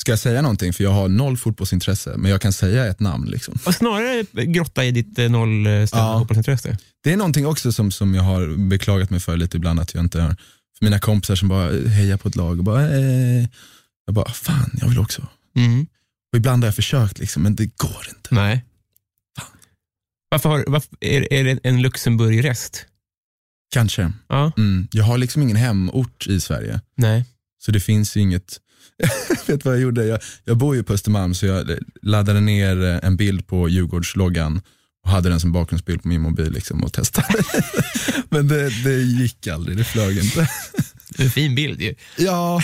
Speaker 2: Ska jag säga någonting? För jag har noll fotbollsintresse, men jag kan säga ett namn. Liksom.
Speaker 1: Och snarare grotta i ditt eh, noll eh, stora
Speaker 2: Ja.
Speaker 1: fotbollsintresse.
Speaker 2: Det är någonting också som, som jag har beklagat mig för lite ibland, att jag inte har... För mina kompisar som bara hejar på ett lag och bara... Eh. Jag bara, fan, jag vill också.
Speaker 1: Mm.
Speaker 2: Och ibland har jag försökt, liksom, men det går inte.
Speaker 1: Nej. Varför, har, varför är, är det en Luxemburg-rest?
Speaker 2: Kanske.
Speaker 1: Ja.
Speaker 2: Mm. Jag har liksom ingen hemort i Sverige.
Speaker 1: Nej.
Speaker 2: Så det finns ju inget, [LAUGHS] vet du vad jag gjorde? Jag, jag bor ju på Östermalm så jag laddade ner eh, en bild på Djurgårdsloggan och hade den som bakgrundsbild på min mobil liksom och testade. [LAUGHS] Men det, det gick aldrig, det flög inte. [LAUGHS]
Speaker 1: En fin bild ju.
Speaker 2: Ja.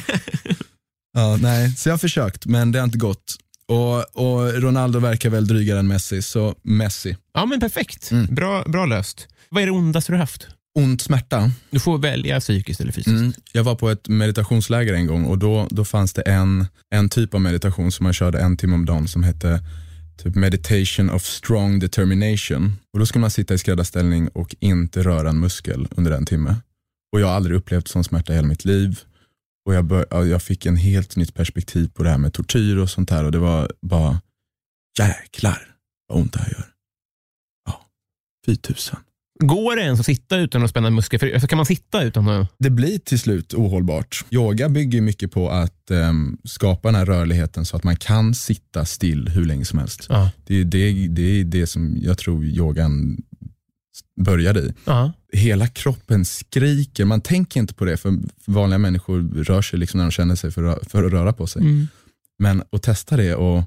Speaker 2: ja, nej, så jag har försökt men det har inte gått. Och, och Ronaldo verkar väl drygare än Messi, så Messi.
Speaker 1: Ja, men perfekt.
Speaker 2: Mm.
Speaker 1: Bra, bra löst. Vad är det ondaste du haft?
Speaker 2: Ont smärta.
Speaker 1: Du får välja psykiskt eller fysiskt.
Speaker 2: Mm. Jag var på ett meditationsläger en gång och då, då fanns det en, en typ av meditation som man körde en timme om dagen som hette typ meditation of strong determination. Och då skulle man sitta i skräddarställning och inte röra en muskel under en timme. Och jag har aldrig upplevt sån smärta i hela mitt liv. Och jag, bör, ja, jag fick en helt nytt perspektiv på det här med tortyr och sånt här och det var bara jäklar vad ont det här gör. Ja, fy tusan.
Speaker 1: Går det ens att sitta utan att spänna muskler? För, alltså, kan man sitta utan att...
Speaker 2: det blir till slut ohållbart. Yoga bygger ju mycket på att ehm, skapa den här rörligheten så att man kan sitta still hur länge som helst.
Speaker 1: Ja.
Speaker 2: Det är det, det, är det som jag tror yogan började i.
Speaker 1: Ja.
Speaker 2: Hela kroppen skriker, man tänker inte på det för vanliga människor rör sig liksom när de känner sig för, att- för att röra på sig.
Speaker 1: Mm.
Speaker 2: Men att testa det och,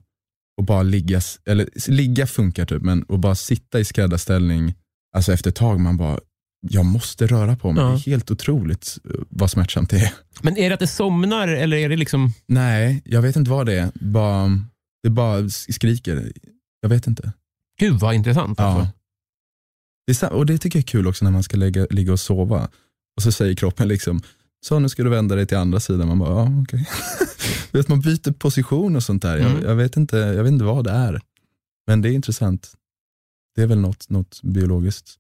Speaker 2: och bara ligga, s- eller s- ligga funkar typ, men att bara sitta i skräddarställning, alltså efter ett tag man bara, jag måste röra på mig.
Speaker 1: Ja.
Speaker 2: Det är helt otroligt eh, vad smärtsamt det är.
Speaker 1: Men är det att det somnar eller är det liksom...
Speaker 2: Nej, jag vet inte vad det är. Bara, det bara s- skriker. Jag vet inte.
Speaker 1: Gud vad intressant.
Speaker 2: Ja.
Speaker 1: Alltså.
Speaker 2: Det är, sa- och det tycker jag är kul också när man ska lägga, ligga och sova. Och så säger kroppen liksom, så nu ska du vända dig till andra sidan. Man bara, ja okej. [LAUGHS] Du vet, man byter position och sånt där.
Speaker 1: Mm.
Speaker 2: Jag, jag, vet inte, jag vet inte vad det är. Men det är intressant. Det är väl något, något biologiskt.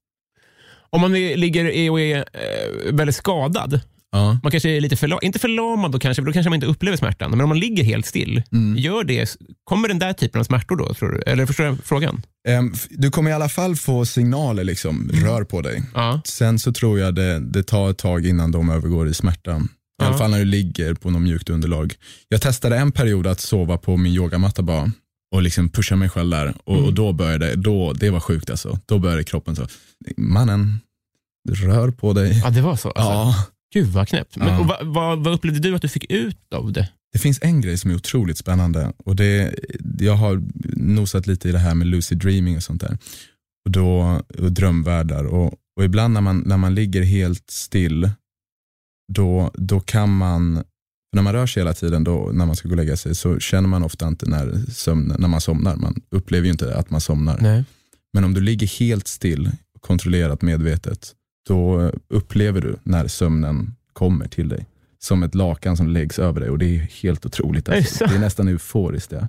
Speaker 1: Om man är- ligger i- och är eh, väldigt skadad,
Speaker 2: Ja.
Speaker 1: man kanske är lite förla- inte förlamad då kanske, för då kanske man inte upplever smärtan, men om man ligger helt still,
Speaker 2: Mm.
Speaker 1: gör det, kommer den där typen av smärtor då, tror du? Eller förstår jag frågan?
Speaker 2: Ehm, f- Du kommer i alla fall få signaler, liksom, rör på dig.
Speaker 1: Ja.
Speaker 2: Sen så tror jag det, det tar ett tag innan de övergår i smärtan. I
Speaker 1: Ja.
Speaker 2: alla fall när du ligger på något mjukt underlag. Jag testade en period att sova på min yogamatta bara och liksom pusha mig själv där. Och,
Speaker 1: Mm.
Speaker 2: och då började, då, det var sjukt alltså. Då började kroppen så, mannen, rör på dig.
Speaker 1: ja, det var så. Alltså.
Speaker 2: Ja.
Speaker 1: Gud vad knäppt. Men,
Speaker 2: Ja.
Speaker 1: och vad, vad, vad upplevde du att du fick ut av det?
Speaker 2: Det finns en grej som är otroligt spännande och det, jag har nosat lite i det här med lucid dreaming och sånt där. Och, då, och drömvärldar och, och ibland när man, när man ligger helt still då, då kan man, för när man rör sig hela tiden då, när man ska gå och lägga sig så känner man ofta inte när, sömn, när man somnar. Man upplever ju inte att man somnar.
Speaker 1: Nej.
Speaker 2: Men om du ligger helt still, kontrollerat medvetet, då upplever du när sömnen kommer till dig. Som ett lakan som läggs över dig och det är helt otroligt. Alltså.
Speaker 1: Är det så?
Speaker 2: Det är nästan euforiskt. Ja.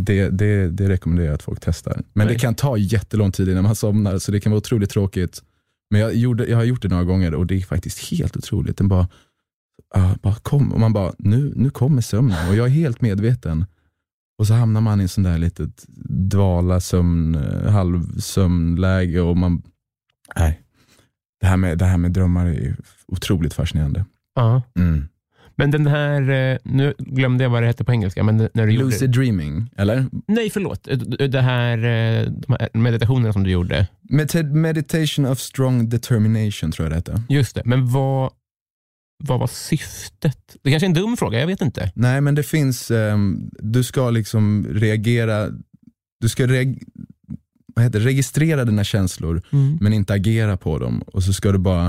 Speaker 2: Det, det, det rekommenderar jag att folk testar. Men
Speaker 1: Nej.
Speaker 2: det kan ta jättelång tid innan man somnar, så det kan vara otroligt tråkigt. Men jag, gjorde, jag har gjort det några gånger och det är faktiskt helt otroligt. Den bara, ah, bara kom. Och man bara, nu, nu kommer sömnen och jag är helt medveten. Och så hamnar man i en sån där litet dvala sömn, eh, halvsömnläge och man, nej. Det här med, det här med drömmar är otroligt fascinerande. Mm.
Speaker 1: Ja. Men den här, eh, nu glömde jag vad det hette på engelska, men när du gjorde...
Speaker 2: Lucid dreaming, eller?
Speaker 1: Nej, förlåt. Det här, eh, de här meditationerna som du gjorde.
Speaker 2: Med- Meditation of strong determination tror jag det heter.
Speaker 1: Just det, men vad, vad var syftet? Det kanske är en dum fråga, jag vet inte.
Speaker 2: Nej, men det finns, ehm, du ska liksom reagera, du ska reag- Mm. vad heter, det? registrera dina känslor men inte agera på dem. Och så ska du bara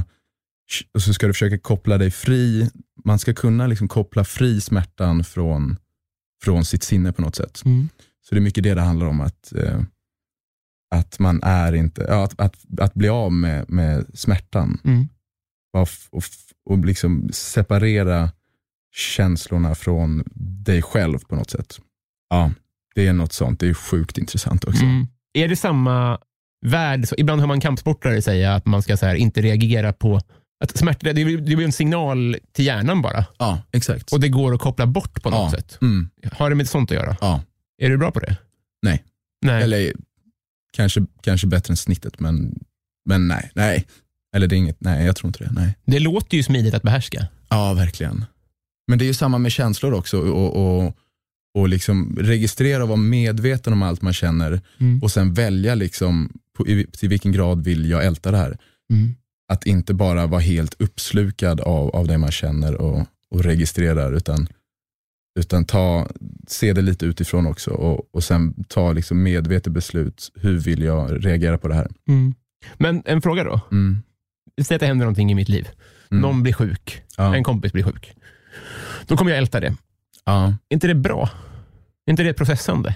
Speaker 2: och så ska du försöka koppla dig fri. Man ska kunna liksom koppla fri smärtan från, från sitt sinne på något sätt.
Speaker 1: Mm.
Speaker 2: Så det är mycket det det handlar om, att, eh, att man är inte, ja, att, att, att bli av med, med smärtan
Speaker 1: Mm.
Speaker 2: Bara f- och, f- och liksom separera känslorna från dig själv på något sätt. Ja, det är något sånt. Det är sjukt intressant också.
Speaker 1: Mm. Är det samma värld? Så ibland hör man kampsportare säga att man ska så här, inte reagera på att smärta, det blir, det blir en signal till hjärnan bara.
Speaker 2: Ja, exakt.
Speaker 1: Och det går att koppla bort på något
Speaker 2: ja.
Speaker 1: sätt.
Speaker 2: Mm,
Speaker 1: Har det med sånt att göra?
Speaker 2: ja.
Speaker 1: Är du bra på det?
Speaker 2: Nej.
Speaker 1: Nej.
Speaker 2: Eller kanske, kanske bättre än snittet, men, men nej, nej. Eller det är inget, nej jag tror inte det. Nej.
Speaker 1: Det låter ju smidigt att behärska.
Speaker 2: Ja, verkligen. Men det är ju samma med känslor också. Och, och, och liksom registrera och vara medveten om allt man känner
Speaker 1: Mm.
Speaker 2: och sen välja liksom på, i, till vilken grad vill jag älta det här. Att inte bara vara helt uppslukad av, av det man känner och, och registrerar utan, utan ta, se det lite utifrån också och, och sen ta liksom medvetet beslut. Hur vill jag reagera på det här?
Speaker 1: Men en fråga då.
Speaker 2: Mm.
Speaker 1: Säg att det händer någonting i mitt liv.
Speaker 2: Mm.
Speaker 1: Någon blir sjuk.
Speaker 2: Ja.
Speaker 1: En kompis blir sjuk. Då kommer jag älta det.
Speaker 2: Ja.
Speaker 1: Är inte det bra? Är inte det processande?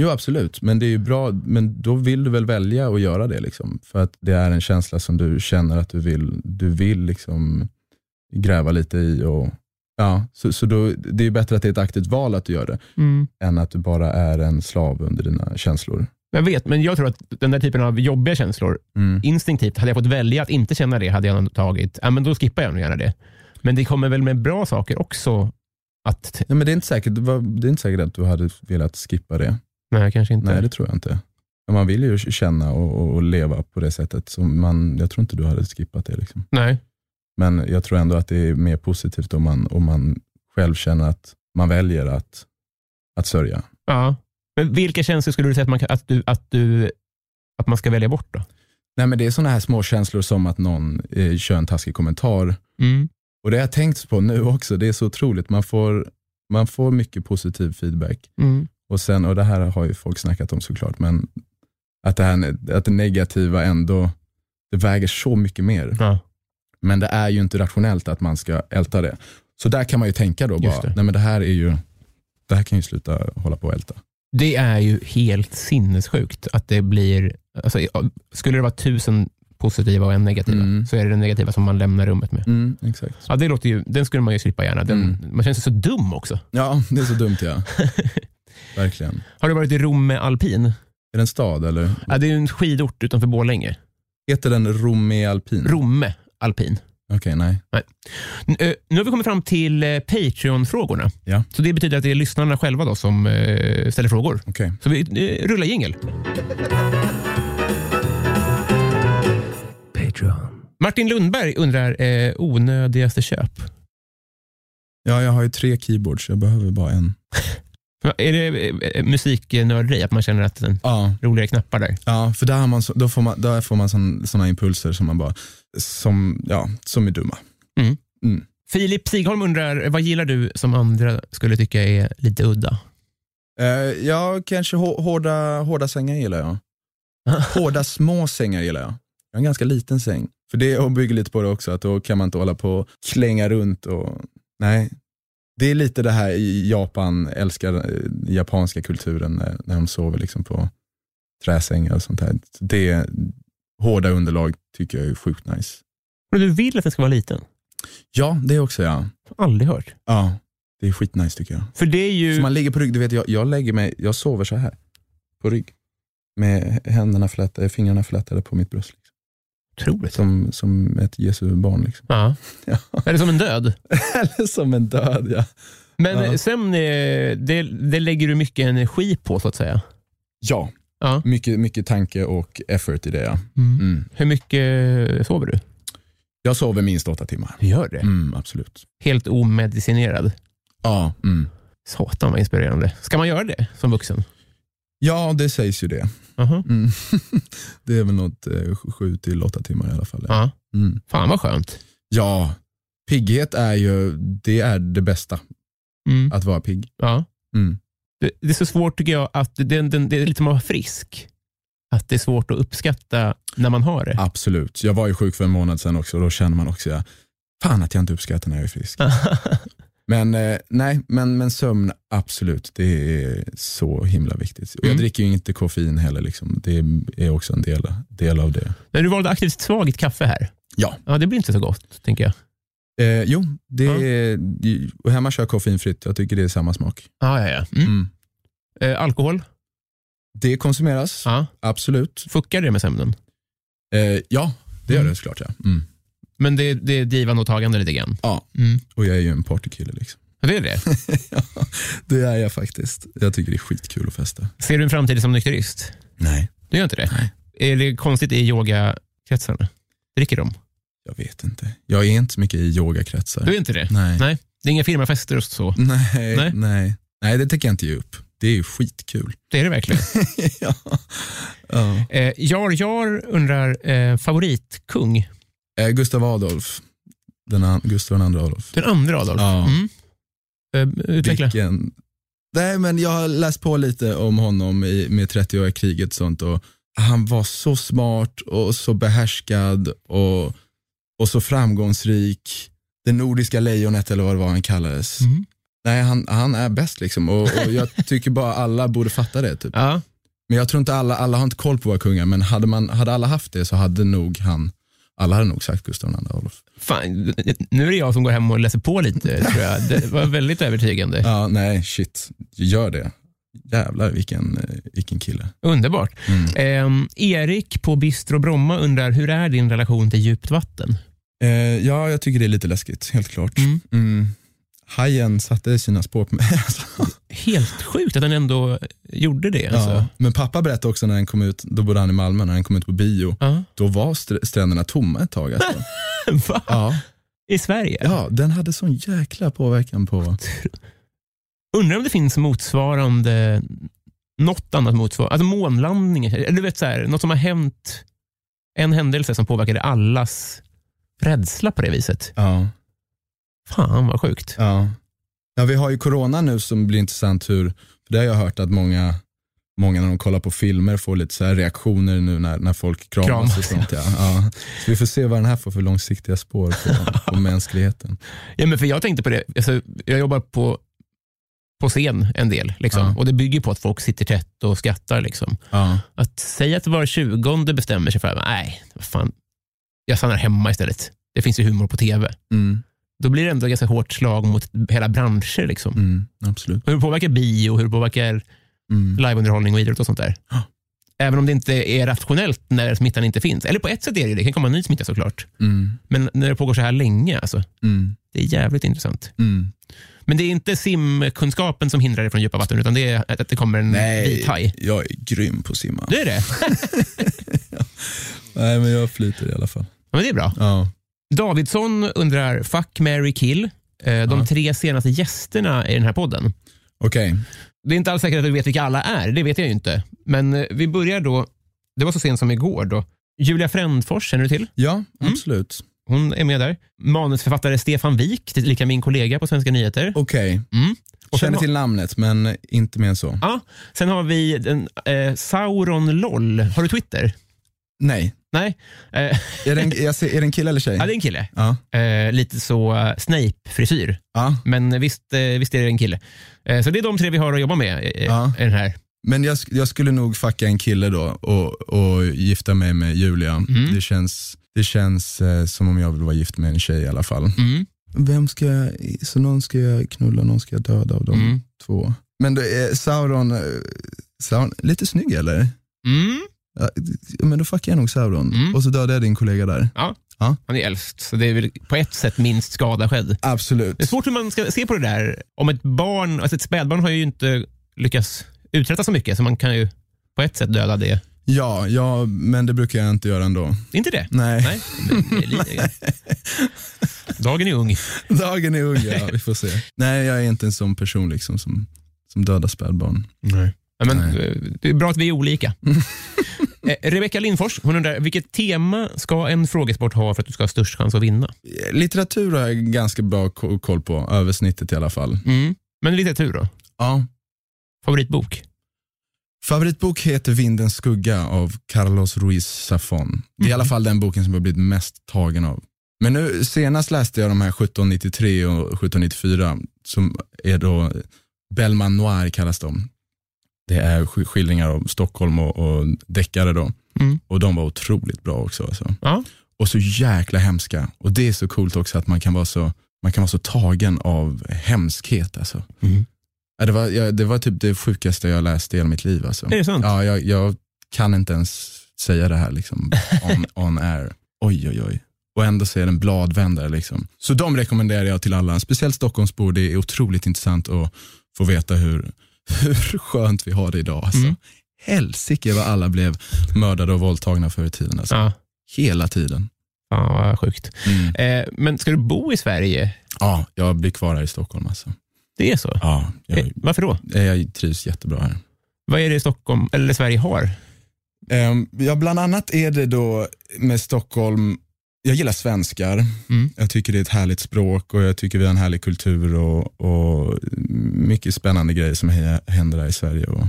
Speaker 2: Jo absolut, men det är ju bra, men då vill du väl välja att göra det liksom. För att det är en känsla som du känner att du vill, du vill liksom gräva lite i. Och, ja, så så då, det är ju bättre att det är ett aktivt val att du gör det, än att du bara är en slav under dina känslor.
Speaker 1: Jag vet, men jag tror att den där typen av jobbiga känslor,
Speaker 2: Mm.
Speaker 1: instinktivt, hade jag fått välja att inte känna det, hade jag nog tagit, ja men då skippar jag nog gärna det. Men det kommer väl med bra saker också? Att,
Speaker 2: Nej, men det, är inte säkert, det, var, det är inte säkert att du hade velat skippa det.
Speaker 1: nej, kanske inte.
Speaker 2: Nej, det tror jag inte. Men man vill ju känna och, och, och leva på det sättet. Så man, jag tror inte du hade skippat det. Liksom.
Speaker 1: nej.
Speaker 2: Men jag tror ändå att det är mer positivt om man, om man själv känner att man väljer att, att sörja.
Speaker 1: Ja. Men vilka känslor skulle du säga att man, kan- att du, att du, att man ska välja bort då?
Speaker 2: Nej, men det är sådana här små känslor som att någon eh, kör en taskig kommentar. Och det har jag tänkt på nu också, det är så otroligt. Man får, man får mycket positiv feedback.
Speaker 1: Mm.
Speaker 2: Och sen, och det här har ju folk snackat om såklart, men att det, här, att det negativa ändå, det väger så mycket mer.
Speaker 1: Ja.
Speaker 2: Men det är ju inte rationellt att man ska älta det. Så där kan man ju tänka då
Speaker 1: Just
Speaker 2: bara,
Speaker 1: det.
Speaker 2: nej men det här är ju, det här kan ju sluta hålla på och älta.
Speaker 1: Det är ju helt sinnessjukt att det blir, alltså, skulle det vara tusen positiva och en negativa,
Speaker 2: Mm.
Speaker 1: så är det den negativa som man lämnar rummet med.
Speaker 2: Mm, exakt.
Speaker 1: Ja, det låter ju, den skulle man ju slippa gärna. Den,
Speaker 2: Mm.
Speaker 1: Man känns ju så dum också.
Speaker 2: Ja, det är så dumt ja. Verkligen.
Speaker 1: Har du varit i Romme alpin?
Speaker 2: Är det en stad eller?
Speaker 1: Ja, det är ju en skidort utanför Borlänge.
Speaker 2: Heter den Romme Alpin?
Speaker 1: Romme alpin.
Speaker 2: Okej, nej.
Speaker 1: N- eh, Nu har vi kommit fram till eh, Patreon-frågorna.
Speaker 2: Ja.
Speaker 1: Så det betyder att det är lyssnarna själva då som eh, ställer frågor.
Speaker 2: Okej.
Speaker 1: Så vi eh, rullar jingel.
Speaker 5: Patreon.
Speaker 1: Martin Lundberg undrar eh, onödigaste köp.
Speaker 2: Ja, jag har ju tre keyboards, jag behöver bara en.
Speaker 1: Va, Är det eh, musiknörderi, att man känner att den
Speaker 2: Ja,
Speaker 1: roligare knappar där?
Speaker 2: ja för där, har man så, då får man, där får man sån, såna impulser som man bara, som, ja, som är dumma.
Speaker 1: Filip Sigholm undrar, vad gillar du som andra skulle tycka är lite udda?
Speaker 2: Eh, ja, kanske hå- hårda, hårda sängar gillar jag. Hårda små sängar gillar jag. Jag har en ganska liten säng. För det och bygger lite på det också, att då kan man inte hålla på och klänga runt och nej. Det är lite det här i Japan, älskar eh, japanska kulturen när, när de sover liksom på träsängar och sånt där. Det, hårda underlag tycker jag är sjukt nice.
Speaker 1: Men du vill att den ska vara liten?
Speaker 2: Ja, det också ja.
Speaker 1: Aldrig hört.
Speaker 2: Ja, det är skitnice tycker jag.
Speaker 1: För det är
Speaker 2: Så
Speaker 1: ju...
Speaker 2: man ligger på rygg, du vet jag, jag lägger mig, jag sover så här på rygg. Med händerna flätade, fingrarna flätade på mitt bröst. Liksom.
Speaker 1: Otroligt.
Speaker 2: Som, som ett Jesu barn. Liksom.
Speaker 1: Ja.
Speaker 2: Ja.
Speaker 1: [LAUGHS] Eller som en död.
Speaker 2: [LAUGHS] Eller som en död ja.
Speaker 1: Men
Speaker 2: Ja.
Speaker 1: sen, eh, det, det lägger du mycket energi på så att säga.
Speaker 2: Ja,
Speaker 1: Ja.
Speaker 2: mycket, mycket tanke och effort i det ja. Mm.
Speaker 1: Hur mycket eh, sover du?
Speaker 2: Jag sover minst åtta timmar.
Speaker 1: Du gör det?
Speaker 2: Mm, absolut.
Speaker 1: Helt omedicinerad.
Speaker 2: Ja, mm.
Speaker 1: Satan vad inspirerande. Ska man göra det som vuxen?
Speaker 2: ja, det sägs ju det.
Speaker 1: Aha.
Speaker 2: Mm. [LAUGHS] det är väl något eh, sju till åtta timmar i alla fall. Ja.
Speaker 1: Ja.
Speaker 2: Mm.
Speaker 1: Fan vad skönt.
Speaker 2: ja, pigghet är ju det, är det bästa,
Speaker 1: Mm.
Speaker 2: att vara pigg.
Speaker 1: Ja.
Speaker 2: Mm.
Speaker 1: Det, det är så svårt tycker jag att det, den- den- det är lite som att vara frisk. att det är svårt att uppskatta när man har det.
Speaker 2: Absolut. Jag var ju sjuk för en månad sedan också och då känner man också, ja, fan att jag inte uppskattar när jag
Speaker 1: [LAUGHS]
Speaker 2: är frisk. Men eh, nej, men, men sömn, absolut. Det är så himla viktigt. Och jag
Speaker 1: Mm.
Speaker 2: dricker ju inte koffein heller. Liksom. Det är också en del, del av det.
Speaker 1: Men du valde aktivt svagt kaffe här.
Speaker 2: Ja.
Speaker 1: Ja, det blir inte så gott, tänker jag.
Speaker 2: Eh, jo, det
Speaker 1: Ja.
Speaker 2: är, och hemma kör jag koffeinfritt. Jag tycker det är samma smak.
Speaker 1: Ah, ja, ja. Mm.
Speaker 2: Mm.
Speaker 1: Eh, alkohol?
Speaker 2: Det konsumeras,
Speaker 1: Ja.
Speaker 2: absolut.
Speaker 1: Fuckar det med sömnen?
Speaker 2: Eh, ja, det gör
Speaker 1: Mm.
Speaker 2: det såklart. Ja. Mm.
Speaker 1: Men det, det är givande och tagande lite grann?
Speaker 2: Ja.
Speaker 1: Mm.
Speaker 2: Och jag är ju en partykille. Liksom. [LAUGHS]
Speaker 1: Ja, Det är det.
Speaker 2: ja, det är jag faktiskt. Jag tycker det är skitkul att festa.
Speaker 1: Ser du en framtid som nykterist?
Speaker 2: Nej.
Speaker 1: Du gör inte det? Är det konstigt i yogakretsarna? Dricker de?
Speaker 2: Jag vet inte. Jag är inte så mycket i yogakretsar.
Speaker 1: Du är inte det?
Speaker 2: Nej.
Speaker 1: Nej. Det är inga firmafester och så?
Speaker 2: Nej,
Speaker 1: Nej.
Speaker 2: nej. nej. det tänker jag inte ge upp. Det är
Speaker 1: [LAUGHS]
Speaker 2: ju skitkul.
Speaker 1: Det är det
Speaker 2: [LAUGHS]
Speaker 1: verkligen.
Speaker 2: ja. Ja.
Speaker 1: Eh, Jar Jar undrar eh, favoritkung.
Speaker 2: Eh, Gustav Adolf. Den an- Gustav II Adolf.
Speaker 1: Den andra Adolf.
Speaker 2: Ja.
Speaker 1: Mm. Eh, utveckla.
Speaker 2: Vilken... Nej, men jag har läst på lite om honom i, med 30-åriga kriget och sånt. Och han var så smart och så behärskad och, och så framgångsrik. Det nordiska lejonet eller vad det var han kallades.
Speaker 1: Mm.
Speaker 2: Nej, han, han är bäst liksom. Och,
Speaker 1: [LAUGHS]
Speaker 2: och jag tycker bara alla borde fatta det. Typ.
Speaker 1: Ja.
Speaker 2: Men jag tror inte alla, alla har inte koll på våra kungar, men hade, man, hade alla haft det så hade nog han, alla hade nog sagt Gustav II Adolf.
Speaker 1: Fan, nu är det jag som går hem och läser på lite, tror jag. Det var väldigt övertygande.
Speaker 2: Ja, nej, shit, gör det. Jävlar vilken, eh, vilken kille.
Speaker 1: Underbart.
Speaker 2: Mm.
Speaker 1: Ehm, Erik på Bistro Bromma undrar, hur är din relation till djupt vatten?
Speaker 2: Eh, ja, jag tycker det är lite läskigt, helt klart.
Speaker 1: Mm.
Speaker 2: Mm. Hajen satte sina spår på mig. [LAUGHS] Alltså.
Speaker 1: Helt sjukt att han ändå gjorde det. Alltså.
Speaker 2: Ja. Men pappa berättade också när han kom ut, då bodde han i Malmö, när han kom ut på bio,
Speaker 1: Ja.
Speaker 2: då var str- stränderna tomma ett tag. Alltså.
Speaker 1: [LAUGHS] Va?
Speaker 2: [LAUGHS] ja.
Speaker 1: I Sverige?
Speaker 2: ja, den hade sån jäkla påverkan på...
Speaker 1: Undrar om det finns motsvarande, något annat motsvarande, alltså månlandningen, eller du vet så här, något som har hänt, en händelse som påverkade allas rädsla på det viset.
Speaker 2: Ja.
Speaker 1: Fan vad sjukt.
Speaker 2: Ja. ja, vi har ju corona nu som blir intressant hur, för det har jag hört att många, många när de kollar på filmer får lite så här reaktioner nu när, när folk kramas,
Speaker 1: Kramas,
Speaker 2: och sånt. Ja. Ja. Så vi får se vad den här får för långsiktiga spår på, [LAUGHS] på mänskligheten.
Speaker 1: Ja, men för jag tänkte på det, alltså, jag jobbar på, på scen en del liksom,
Speaker 2: Ja.
Speaker 1: och det bygger på att folk sitter tätt och skrattar. Liksom.
Speaker 2: Ja.
Speaker 1: Att säga att var tjugonde bestämmer sig för att nej, vad fan, jag stannar hemma istället. Det finns ju humor på tv.
Speaker 2: Mm,
Speaker 1: Då blir det ändå ett ganska hårt slag mot hela branscher. Liksom.
Speaker 2: mm, absolut.
Speaker 1: Hur påverkar bio, hur påverkar
Speaker 2: Mm.
Speaker 1: liveunderhållning och idrott och sånt där?
Speaker 2: Ja.
Speaker 1: Även om det inte är rationellt när smittan inte finns. Eller på ett sätt är det ju det, det kan komma en ny smitta såklart.
Speaker 2: Mm,
Speaker 1: Men när det pågår så här länge, alltså,
Speaker 2: mm,
Speaker 1: det är jävligt intressant.
Speaker 2: mm.
Speaker 1: Men det är inte simkunskapen som hindrar dig från djupa vatten, utan det är att att det kommer en vit haj.
Speaker 2: jag är grym på att simma.
Speaker 1: Det är det. [LAUGHS]
Speaker 2: Nej, men jag flyter i alla fall.
Speaker 1: Ja, men det är bra.
Speaker 2: Ja.
Speaker 1: Davidsson undrar, fuck, Mary kill. Eh, De
Speaker 2: Ja.
Speaker 1: tre senaste gästerna i den här podden.
Speaker 2: Okej,
Speaker 1: Det är inte alls säkert att du vet vilka alla är, det vet jag ju inte. Men eh, vi börjar då, det var så sent som igår då. Julia Frändfors känner du till?
Speaker 2: ja absolut.
Speaker 1: Hon är med där. Manusförfattare Stefan Wik, tillika min kollega på Svenska nyheter.
Speaker 2: Okej,
Speaker 1: Mm. Och sen,
Speaker 2: känner till namnet men inte mer än så.
Speaker 1: Ja, sen har vi den, eh, Sauron Loll. Har du Twitter?
Speaker 2: Nej,
Speaker 1: Nej. Eh, [LAUGHS]
Speaker 2: är det en, jag ser, är det en kille eller tjej?
Speaker 1: ja, det är en kille.
Speaker 2: ja.
Speaker 1: Eh, lite så eh, Snape-frisyr.
Speaker 2: ja.
Speaker 1: Men visst, eh, visst är det en kille. Eh, så det är de tre vi har att jobba med eh,
Speaker 2: Ja.
Speaker 1: i den här.
Speaker 2: Men jag, sk- jag skulle nog fucka en kille då och, och gifta mig med Julia.
Speaker 1: Mm.
Speaker 2: Det känns, det känns eh, som om jag vill vara gift med en tjej i alla fall.
Speaker 1: Mm.
Speaker 2: Vem ska jag, så någon ska jag knulla, någon ska jag döda av de
Speaker 1: Mm.
Speaker 2: två. Men då är Sauron, eh, Sauron, lite snygg eller?
Speaker 1: Mm.
Speaker 2: Ja, men då fuckar jag nog Sauron
Speaker 1: Mm.
Speaker 2: och så dödar jag din kollega där.
Speaker 1: Han är äldst, så det är väl på ett sätt minst skada skedd.
Speaker 2: Absolut.
Speaker 1: Det är svårt hur man ska se på det där. Om ett barn, alltså ett spädbarn har ju inte lyckats uträtta så mycket, så man kan ju på ett sätt döda det.
Speaker 2: Ja, ja, men det brukar jag inte göra ändå.
Speaker 1: Inte det?
Speaker 2: Nej,
Speaker 1: Nej. men det är lite- Dagen är ung.
Speaker 2: [LAUGHS] dagen är ung, ja, vi får se. [LAUGHS] Nej, jag är inte en sån person liksom som, som dödar spädbarn.
Speaker 1: Nej. Men,
Speaker 2: Nej.
Speaker 1: eh, Det är bra att vi är
Speaker 2: [LAUGHS]
Speaker 1: olika. Eh, Rebecka Lindfors hon undrar, vilket tema ska en frågesport ha för att du ska ha störst chans att vinna?
Speaker 2: Litteratur har jag ganska bra ko- koll på, översnittet i alla fall.
Speaker 1: Mm. Men litteratur då?
Speaker 2: Ja.
Speaker 1: Favoritbok?
Speaker 2: Favoritbok heter Vindens skugga av Carlos Ruiz Zafón. Det är i alla fall den boken som jag blivit mest tagen av. Men nu senast läste jag de här 1793 och 1794 som är då Bellman Noir kallas de. Det är sk- skildringar av Stockholm och, och deckare då.
Speaker 1: Mm.
Speaker 2: Och de var otroligt bra också. Alltså.
Speaker 1: Ja.
Speaker 2: Och så jäkla hemska. Och det är så coolt också att man kan vara så, man kan vara så tagen av hemskhet. Alltså.
Speaker 1: Mm.
Speaker 2: Ja, det, var, ja, det var typ det sjukaste jag läste i hela mitt liv. Alltså.
Speaker 1: Är det sant?
Speaker 2: Ja, jag, jag kan inte ens säga det här liksom,
Speaker 1: [LAUGHS]
Speaker 2: on, on air. Oj, oj, oj. Och ändå så är den bladvändare. Liksom. Så de rekommenderar jag till alla, speciellt Stockholmsbor. Det är otroligt intressant att få veta hur, [LAUGHS] hur skönt vi har det idag. Alltså.
Speaker 1: Mm.
Speaker 2: Helsike vad alla blev mördade och våldtagna förr i tiden. Alltså.
Speaker 1: Ja.
Speaker 2: Hela tiden.
Speaker 1: Fan vad sjukt.
Speaker 2: Mm.
Speaker 1: Eh, men ska du bo i Sverige?
Speaker 2: Ja, jag blir kvar här i Stockholm. Alltså.
Speaker 1: Det är så?
Speaker 2: Ja,
Speaker 1: Eh,
Speaker 2: jag,
Speaker 1: varför då?
Speaker 2: jag trivs jättebra här.
Speaker 1: Vad är det Stockholm, eller Sverige har?
Speaker 2: Ehm, Ja, bland annat är det då med Stockholm, jag gillar svenskar.
Speaker 1: Mm.
Speaker 2: Jag tycker det är ett härligt språk och jag tycker vi har en härlig kultur och, och mycket spännande grejer som he- händer här i Sverige. Och,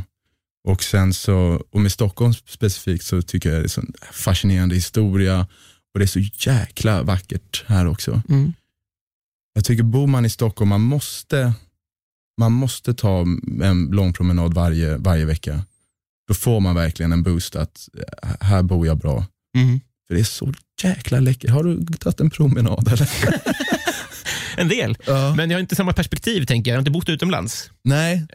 Speaker 2: och sen så, och med Stockholm specifikt så tycker jag det är så en fascinerande historia och det är så jäkla vackert här också.
Speaker 1: Mm.
Speaker 2: Jag tycker bor man i Stockholm, man måste, man måste ta en lång promenad varje, varje vecka. Då får man verkligen en boost att eh, här bor jag bra.
Speaker 1: Mm.
Speaker 2: För det är så jäkla läckert. Har du tagit en
Speaker 1: [LAUGHS]
Speaker 2: promenad eller?
Speaker 1: En del.
Speaker 2: Ja.
Speaker 1: Men jag har inte samma perspektiv, tänker jag. Jag har inte bott utomlands.
Speaker 2: Nej.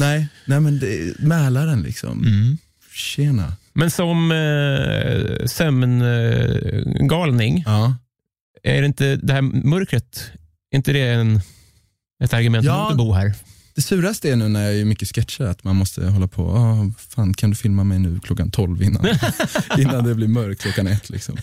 Speaker 2: Nej, nej men det är Mälaren liksom.
Speaker 1: Mm.
Speaker 2: Tjena.
Speaker 1: Men som eh, sömngalning,
Speaker 2: Ja.
Speaker 1: är det inte det här mörkret, är inte det en, ett argument
Speaker 2: Ja.
Speaker 1: mot att bo här?
Speaker 2: Det suraste är nu när jag gör mycket sketcher att man måste hålla på, ah, fan kan du filma mig nu klockan
Speaker 1: [LAUGHS]
Speaker 2: 12 innan, innan det blir mörkt klockan ett. Liksom.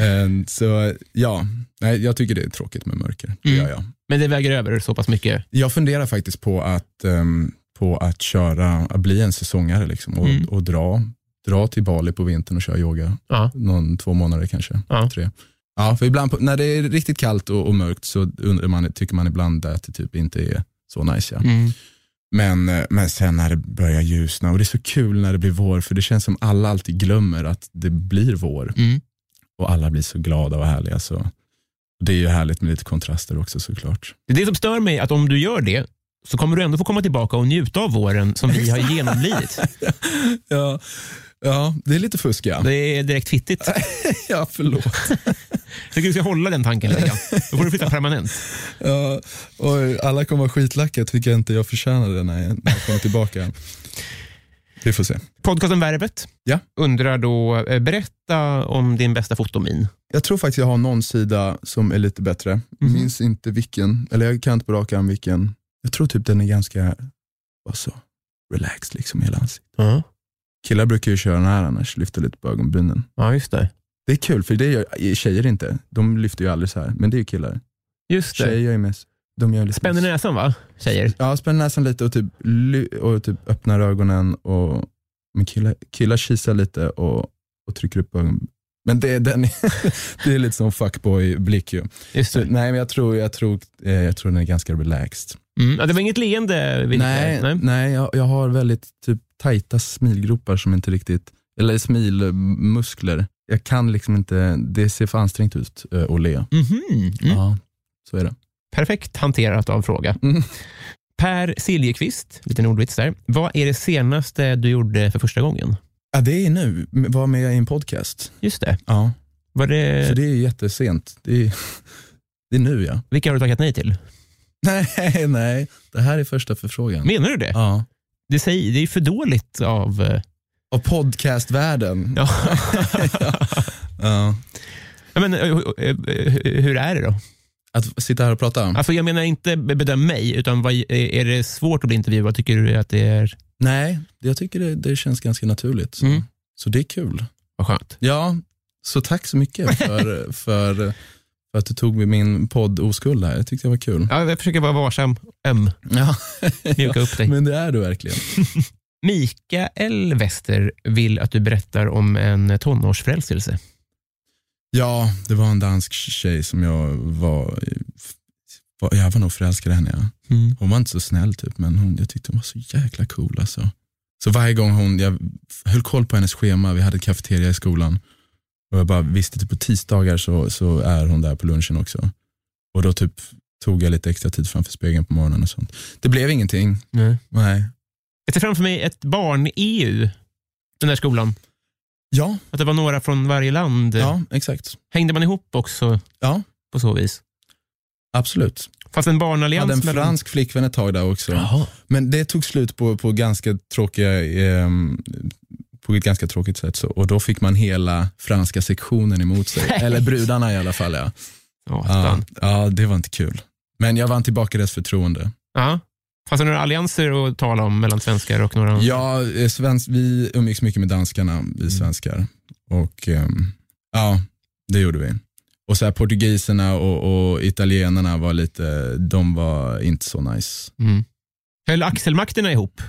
Speaker 2: Ehm, så ja, nej, jag tycker det är tråkigt med mörker. Det
Speaker 1: Mm.
Speaker 2: gör jag.
Speaker 1: Men det väger över så pass mycket.
Speaker 2: Jag funderar faktiskt på att, ehm, på att köra, att bli en säsongare liksom, och,
Speaker 1: Mm.
Speaker 2: och dra, dra till Bali på vintern och köra yoga.
Speaker 1: Ja.
Speaker 2: Någon två månader kanske,
Speaker 1: Ja.
Speaker 2: tre. Ja, för ibland på, när det är riktigt kallt och, och mörkt så undrar man, tycker man ibland att det typ inte är så nice. Ja.
Speaker 1: Mm.
Speaker 2: Men, eh, men sen när det börjar ljusna och det är så kul när det blir vår för det känns som alla alltid glömmer att det blir vår
Speaker 1: Mm.
Speaker 2: och alla blir så glada och härliga. Så. Det är ju härligt med lite kontraster också såklart.
Speaker 1: Det är det som stör mig, att om du gör det, så kommer du ändå få komma tillbaka och njuta av våren som vi har genomlidit.
Speaker 2: Ja, ja det är lite fusk ja.
Speaker 1: Det är direkt fittigt.
Speaker 2: ja förlåt.
Speaker 1: Jag tycker du ska hålla den tanken lite grann. Då får du flytta permanent.
Speaker 2: Ja, oj, alla kommer vara skitlacka, tycker jag inte jag förtjänade när jag, när jag kommer tillbaka. Vi får se.
Speaker 1: Podcasten Värvet
Speaker 2: Ja.
Speaker 1: undrar då, eh, berätta om din bästa fotomin.
Speaker 2: Jag tror faktiskt jag har någon sida som är lite bättre.
Speaker 1: Mhm.
Speaker 2: Minns inte vilken, eller jag kan inte på rak arm vilken. Jag tror typ den är ganska, vad så, relaxed liksom i hela ansiktet.
Speaker 1: Ja,
Speaker 2: Killar brukar ju köra den här annars, lyfta lite på ögonbrynen.
Speaker 1: ja just det.
Speaker 2: Det är kul, för det gör tjejer inte. De lyfter ju aldrig så här, men det är ju killar.
Speaker 1: Just det.
Speaker 2: Tjejer gör ju mest. De gör lite
Speaker 1: Spänner näsan va, tjejer?
Speaker 2: Ja, spänner näsan lite och typ, ly- och typ öppnar ögonen. Och, men killar, killar kisar lite och, och trycker upp ögonen. Men det, är- den [LAUGHS] är, det är lite som fuckboy-blick ju.
Speaker 1: Just
Speaker 2: Så,
Speaker 1: det.
Speaker 2: nej, men jag tror, jag, tror, eh, jag tror den är ganska relaxed.
Speaker 1: Mm. Ja, det var inget leende? Vid
Speaker 2: Nej, nej. jag, jag har väldigt typ, tajta smilgropar som inte riktigt, eller smilmuskler. Jag kan liksom inte, det ser för ansträngt ut eh, att le.
Speaker 1: Mhm. Mm.
Speaker 2: Ja, så är det.
Speaker 1: Perfekt hanterat av fråga.
Speaker 2: Mm.
Speaker 1: Per Siljeqvist, liten ordvits där. Vad är det senaste du gjorde för första gången?
Speaker 2: Ja, det är nu, var med i en podcast.
Speaker 1: Just det.
Speaker 2: Ja.
Speaker 1: Var det,
Speaker 2: Så det är jättesent. Det är, det är nu ja. [LAUGHS]
Speaker 1: Vilka har du tackat nej till?
Speaker 2: Nej, nej. Det här är första förfrågan.
Speaker 1: Menar du det?
Speaker 2: Ja.
Speaker 1: Det, säger, det är ju för dåligt av... eh,
Speaker 2: Och podcastvärlden.
Speaker 1: Ja.
Speaker 2: Ja.
Speaker 1: Ja, Men, eh, eh, eh, hur är det då?
Speaker 2: Att sitta här och prata?
Speaker 1: Alltså, jag menar inte be- bedöm mig, utan vad, eh, är det svårt att bli intervjuad? Tycker du att det är...
Speaker 2: Nej, jag tycker det, det känns ganska naturligt. Så,
Speaker 1: Mm.
Speaker 2: så det är kul.
Speaker 1: Vad skönt.
Speaker 2: Ja, så tack så
Speaker 1: [LAUGHS]
Speaker 2: mycket för, för, för att du tog med min podd Oskuld här. Jag tyckte det var kul.
Speaker 1: Ja, jag försöker vara varsam, öm,
Speaker 2: Ja.
Speaker 1: mjuka upp dig.
Speaker 2: [LAUGHS] Men det är du verkligen.
Speaker 1: Mikael Wester vill att du berättar om en tonårsförälskelse.
Speaker 2: Ja, det var en dansk tjej som jag var, var jag var nog förälskad i henne. Ja. Hon var inte så snäll typ, men hon, jag tyckte hon var så jäkla cool alltså. Så varje gång hon, jag höll koll på hennes schema, vi hade ett kafeteria i skolan. Och jag bara visste att på tisdagar så, så är hon där på lunchen också. Och då typ tog jag lite extra tid framför spegeln på morgonen och sånt. Det blev ingenting.
Speaker 1: Nej.
Speaker 2: Nej.
Speaker 1: Jag ser framför mig ett barn-EU, den där skolan.
Speaker 2: Ja,
Speaker 1: Att det var några från varje land.
Speaker 2: ja, exakt.
Speaker 1: Hängde man ihop också
Speaker 2: Ja,
Speaker 1: på så vis?
Speaker 2: absolut.
Speaker 1: Fanns det en
Speaker 2: Jag
Speaker 1: barnallians?
Speaker 2: hade en
Speaker 1: mellan-
Speaker 2: fransk flickvän ett tag där också.
Speaker 1: Jaha.
Speaker 2: Men det tog slut på, på, ganska tråkiga, ehm, på ett ganska tråkigt sätt. Så, och då fick man hela franska sektionen emot sig.
Speaker 1: Nej.
Speaker 2: Eller brudarna i alla fall. Ja.
Speaker 1: Ja,
Speaker 2: Ja,
Speaker 1: fan.
Speaker 2: ja, det var inte kul. Men jag vann tillbaka deras förtroende.
Speaker 1: Ja. Fanns det några allianser att tala om mellan svenskar och några
Speaker 2: Ja, eh, svensk, vi umgicks mycket med danskarna, vi svenskar. Och ehm, ja, det gjorde vi. Och så här, portugiserna och, och italienarna var lite, de var inte så nice.
Speaker 1: Mm. Höll axelmakterna ihop?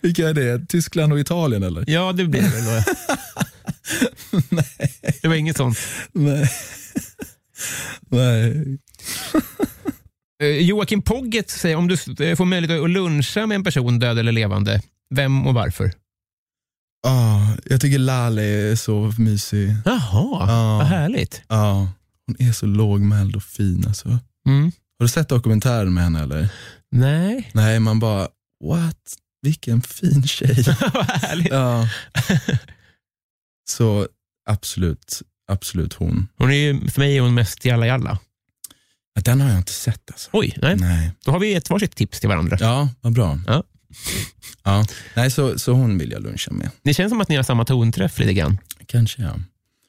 Speaker 2: Vilka är det? Tyskland och Italien eller?
Speaker 1: Ja, det blev det väl. då. [LAUGHS]
Speaker 2: Nej.
Speaker 1: Det var inget sånt.
Speaker 2: Nej. Nej.
Speaker 1: Eh, Joakim Pogget säger, om du s- eh, får möjlighet att luncha med en person, död eller levande, vem och varför?
Speaker 2: Ah, jag tycker Lale är så mysig.
Speaker 1: Jaha,
Speaker 2: Ja.
Speaker 1: vad härligt.
Speaker 2: Ja, hon är så lågmäld och fin. Alltså. Har
Speaker 1: Mm.
Speaker 2: du sett dokumentären med henne eller?
Speaker 1: Nej,
Speaker 2: Nej, man bara what? Vilken
Speaker 1: [LAUGHS]
Speaker 2: fin tjej.
Speaker 1: [LAUGHS] vad härligt.
Speaker 2: ja. Så absolut, absolut hon.
Speaker 1: Hon är ju, för mig är hon mest jalla jalla.
Speaker 2: Ja, Den har jag inte sett alltså.
Speaker 1: Oj, nej.
Speaker 2: Nej.
Speaker 1: Mm. Då har vi ett varsitt tips till varandra.
Speaker 2: Ja, vad bra.
Speaker 1: Ja.
Speaker 2: Ja. Nej, så, så hon vill jag luncha med.
Speaker 1: Det känns som att ni har samma tonträff lite grann.
Speaker 2: Kanske ja.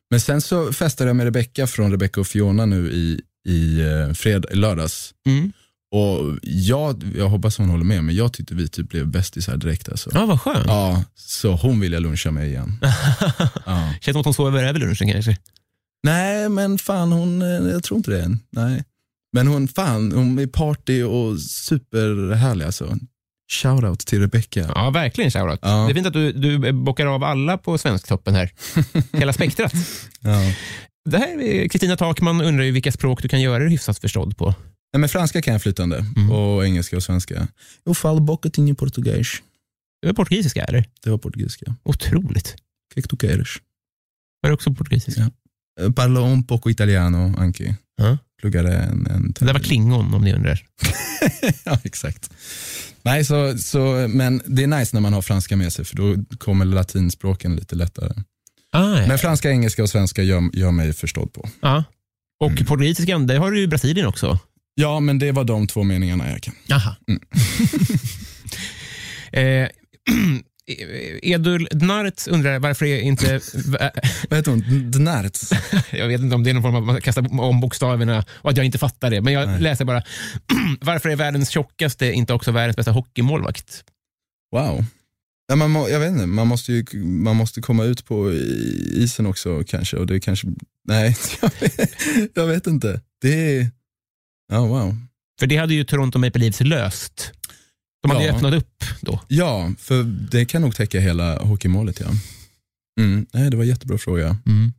Speaker 2: Men sen så festade jag med Rebecca från Rebecca och Fiona nu i, i eh, fred, lördags.
Speaker 1: Mm.
Speaker 2: Och jag, jag hoppas hon håller med, men jag tyckte vi typ blev bästisar direkt alltså.
Speaker 1: Ja, vad skönt.
Speaker 2: Ja, så hon vill jag luncha med igen.
Speaker 1: [LAUGHS]
Speaker 2: Ja.
Speaker 1: Känns som att hon sover över lunchen kanske.
Speaker 2: Nej, men fan hon, eh, jag tror inte det än. Nej. Men hon, fan, hon är party och superhärlig alltså. Shoutout till Rebecca.
Speaker 1: Ja, verkligen shoutout.
Speaker 2: Ja.
Speaker 1: Det är fint att du, du bockar av alla på Svensktoppen [LAUGHS] här. Hela spektrat.
Speaker 2: Ja.
Speaker 1: Det här är Kristina Takman undrar ju vilka språk du kan göra dig hyfsat förstådd på.
Speaker 2: Nej, men franska kan jag flytande
Speaker 1: Mm.
Speaker 2: och engelska och svenska. Eu falo boca tinha português.
Speaker 1: Det var portugisiska, eller?
Speaker 2: Det var portugisiska.
Speaker 1: Otroligt.
Speaker 2: que que tu queres?
Speaker 1: Var det också portugisiska?
Speaker 2: Eh, Parlo un poco italiano anche.
Speaker 1: Ja.
Speaker 2: Pluggade en, en
Speaker 1: Det där var klingon om ni undrar.
Speaker 2: [LAUGHS] ja, exakt. Nej, så, så, men det är nice när man har franska med sig för då kommer latinspråken lite lättare.
Speaker 1: Ah, ja.
Speaker 2: Men franska, engelska och svenska gör, gör mig förstådd på.
Speaker 1: ja. Och
Speaker 2: Mm.
Speaker 1: portugisiskan, det har du ju i Brasilien också.
Speaker 2: Ja, men det var de två meningarna jag kan.
Speaker 1: Jaha. [LAUGHS] eh, [CLEARS THROAT] Edul Dnarts undrar varför är inte... [LAUGHS]
Speaker 2: Vad heter hon? Dnart?
Speaker 1: Jag vet inte om det är någon form av att man kastar om bokstäverna och att jag inte fattar det, men jag
Speaker 2: Nej.
Speaker 1: läser bara. [CLEARS THROAT] varför är världens tjockaste inte också världens bästa hockeymålvakt?
Speaker 2: Wow. Ja, man må, jag vet inte, man måste ju man måste komma ut på i- isen också kanske. Och det kanske nej, [LAUGHS] jag vet, jag vet inte. Det är, ja wow.
Speaker 1: För det hade ju Toronto Maple Leafs löst. De hade
Speaker 2: Ja.
Speaker 1: ju öppnat upp då.
Speaker 2: Ja, för det kan nog täcka hela hockeymålet ja. Mm, nej, det var en jättebra fråga.
Speaker 1: Mm.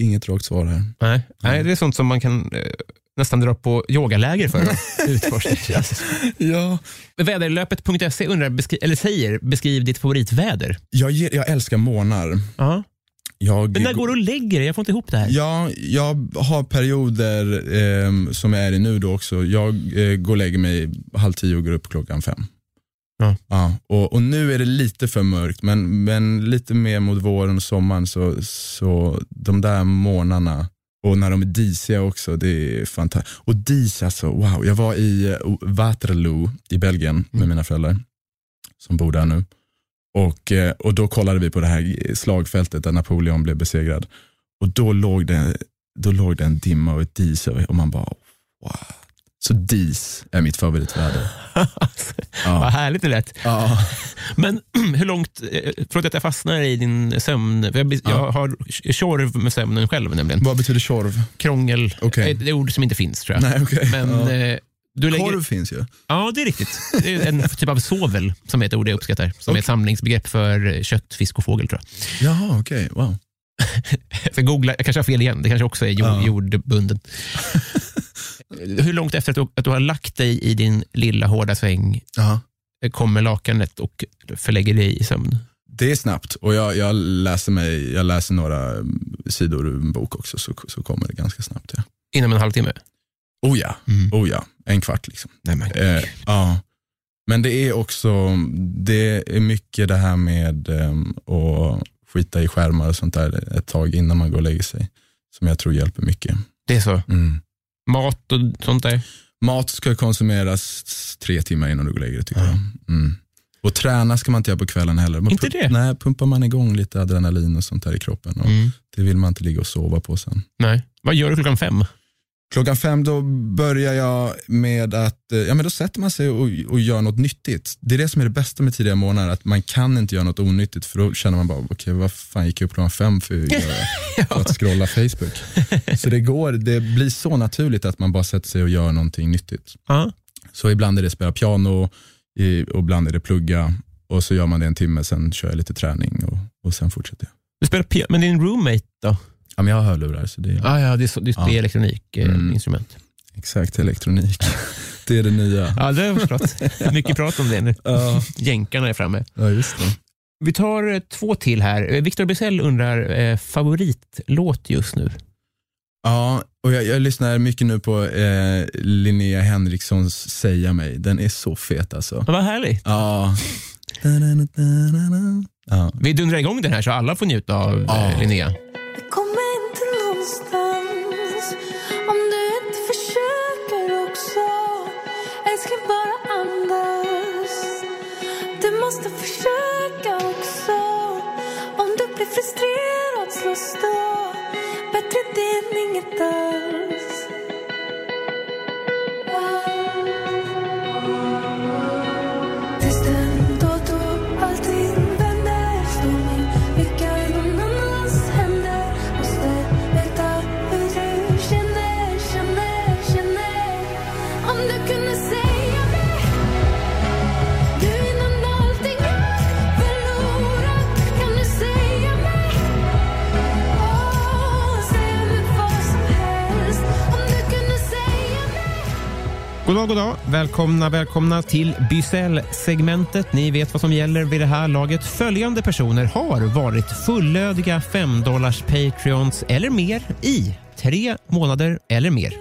Speaker 2: Inget rakt svar här.
Speaker 1: Nej. Nej, det är sånt som man kan eh, nästan dra på yogaläger för att [LAUGHS] utforska.
Speaker 2: Ja.
Speaker 1: Väderlöpet.se undrar, beskri- eller säger, beskriv ditt favoritväder.
Speaker 2: Jag, ger- jag älskar månar.
Speaker 1: Ja.
Speaker 2: Jag,
Speaker 1: Men när går du och lägger dig? Jag får inte ihop det [LAUGHS] här.
Speaker 2: Ja, jag har perioder ehm, som jag är i nu då också. Jag eh, går och lägger mig halv tio och går upp klockan fem.
Speaker 1: Ja.
Speaker 2: och, och nu är det lite för mörkt, men, men lite mer mot våren och sommaren så, så de där månaderna och när de är disiga också, det är fantastiskt. Och dis alltså, wow. Jag var i eh, Waterloo i Belgien med
Speaker 1: Mm.
Speaker 2: mina föräldrar som bor där nu. Och, eh, och då kollade vi på det här slagfältet där Napoleon blev besegrad. Och då låg det, då låg det en dimma och ett dis över och man bara wow. Så dis är mitt favoritväder.
Speaker 1: Alltså, Vad
Speaker 2: Ja.
Speaker 1: härligt det lät.
Speaker 2: Ja.
Speaker 1: Men [CLEARS THROAT] hur långt, eh, förlåt att jag fastnar i din sömn. för Jag, bes- jag har tjorv med sömnen själv nämligen.
Speaker 2: [LAUGHS] Vad betyder tjorv?
Speaker 1: Krångel,
Speaker 2: Okej.
Speaker 1: eh, det är ord som inte finns tror jag.
Speaker 2: Nej, okej.
Speaker 1: Men
Speaker 2: ja.
Speaker 1: eh, du lägger...
Speaker 2: Korv finns ju.
Speaker 1: Ja, det är riktigt. Det är en typ av sovel som är ett ord jag uppskattar. Som är ett samlingsbegrepp för eh, kött, fisk och fågel tror jag.
Speaker 2: Jaha, okej. Wow.
Speaker 1: Jag ska googla, jag kanske har fel igen. Det kanske också är jord,
Speaker 2: Ja. [LAUGHS]
Speaker 1: jordbunden. Hur långt efter att du, att du har lagt dig i din lilla hårda säng eh,
Speaker 2: Ja.
Speaker 1: kommer lakanet och förlägger dig i sömn.
Speaker 2: Det är snabbt och jag, jag, läser, mig, jag läser några mm, sidor ur en bok också så, så kommer det ganska snabbt. Ja.
Speaker 1: Inom en halvtimme?
Speaker 2: Oh ja,
Speaker 1: Mm.
Speaker 2: oh ja, en kvart liksom.
Speaker 1: Nej, men,
Speaker 2: Eh, ja. Men det är också, det är mycket det här med ehm, att skita i skärmar och sånt där ett tag innan man går och lägger sig. Som jag tror hjälper mycket.
Speaker 1: Det är så. Mat och sånt där?
Speaker 2: Mat ska konsumeras tre timmar innan du går och lägger dig tycker jag. Mm. Och träna ska man inte göra på kvällen heller. Man
Speaker 1: Inte
Speaker 2: pu-
Speaker 1: det?
Speaker 2: Nej, pumpar man igång lite adrenalin och sånt där i kroppen. Och
Speaker 1: Mm.
Speaker 2: Det vill man inte ligga och sova på sen.
Speaker 1: Nej. Vad gör du klockan fem?
Speaker 2: Klockan fem då börjar jag med att, eh, ja men då sätter man sig och, och gör något nyttigt. Det är det som är det bästa med tidiga morgnar, att man kan inte göra något onyttigt för då känner man bara, okej vad fan gick jag upp klockan fem för att, göra, för att scrolla Facebook? Så det går, det blir så naturligt att man bara sätter sig och gör någonting nyttigt.
Speaker 1: Ja.
Speaker 2: Så ibland är det spela piano, i- och ibland är det plugga och så gör man det en timme, sen kör jag lite träning och, och sen fortsätter jag.
Speaker 1: Du spelar piano, men din roommate då?
Speaker 2: Ja men jag har hörlurar så det är
Speaker 1: Ah, ja, Mm. det är, så, det är eh,
Speaker 2: Ja.
Speaker 1: det är elektronikinstrument.
Speaker 2: exakt elektronik. Det är det nya.
Speaker 1: Ja, det har jag förstått. [LAUGHS] Mycket prat om det nu.
Speaker 2: Ja.
Speaker 1: Jänkarna är framme.
Speaker 2: Ja, just det.
Speaker 1: Vi tar eh, två till här. Eh, Victor Bysell undrar eh, favoritlåt just nu.
Speaker 2: Ja, och jag, jag lyssnar mycket nu på eh, Linnea Henrikssons Säga mig. Den är så fet alltså.
Speaker 1: Ja, Vad härligt.
Speaker 2: Ja. ja.
Speaker 1: Vi dundrar igång den här så alla får njuta av eh,
Speaker 2: Ja.
Speaker 1: Linnea.
Speaker 6: Kommer inte någonstans om du inte försöker också. Älskling, bara andas. Du måste försöka också. Om du blir frustrerad, slå stå. Bättre det än inget alls. Tills den då du allting vänder står min lycka i någon annans händer Måste veta hur du känner, känner, känner Om du kunde säga mig Du innan allting är förlorat Kan du säga mig Åh, säga mig vad som helst Om du kunde säga mig
Speaker 1: God dag, god dag. Välkomna, välkomna till Bysell-segmentet. Ni vet vad som gäller vid det här laget. Följande personer har varit fullödiga 5-dollars Patreons eller mer i tre månader eller mer.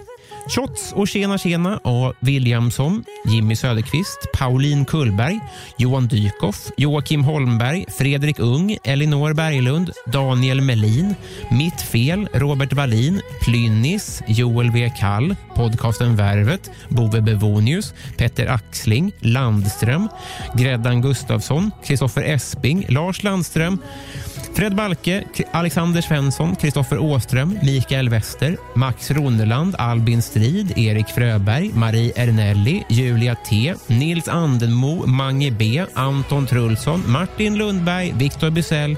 Speaker 1: Shots och Tjena Tjena A. Williamson, Jimmy Söderqvist, Pauline Kullberg, Johan Dykhoff, Joakim Holmberg, Fredrik Ung, Elinor Berglund, Daniel Melin, Mitt Fel, Robert Wallin, Plynnis, Joel W. Kall, podcasten Värvet, Bove Bevonius, Petter Axling, Landström, Gräddan Gustafsson, Kristoffer Esping, Lars Landström, Fred Balke, K- Alexander Svensson, Kristoffer Åström, Mikael Wester, Max Ronneland, Albin Strid, Erik Fröberg, Marie Ernelli, Julia T, Nils Andenmo, Mange B, Anton Trulsson, Martin Lundberg, Viktor Bysell,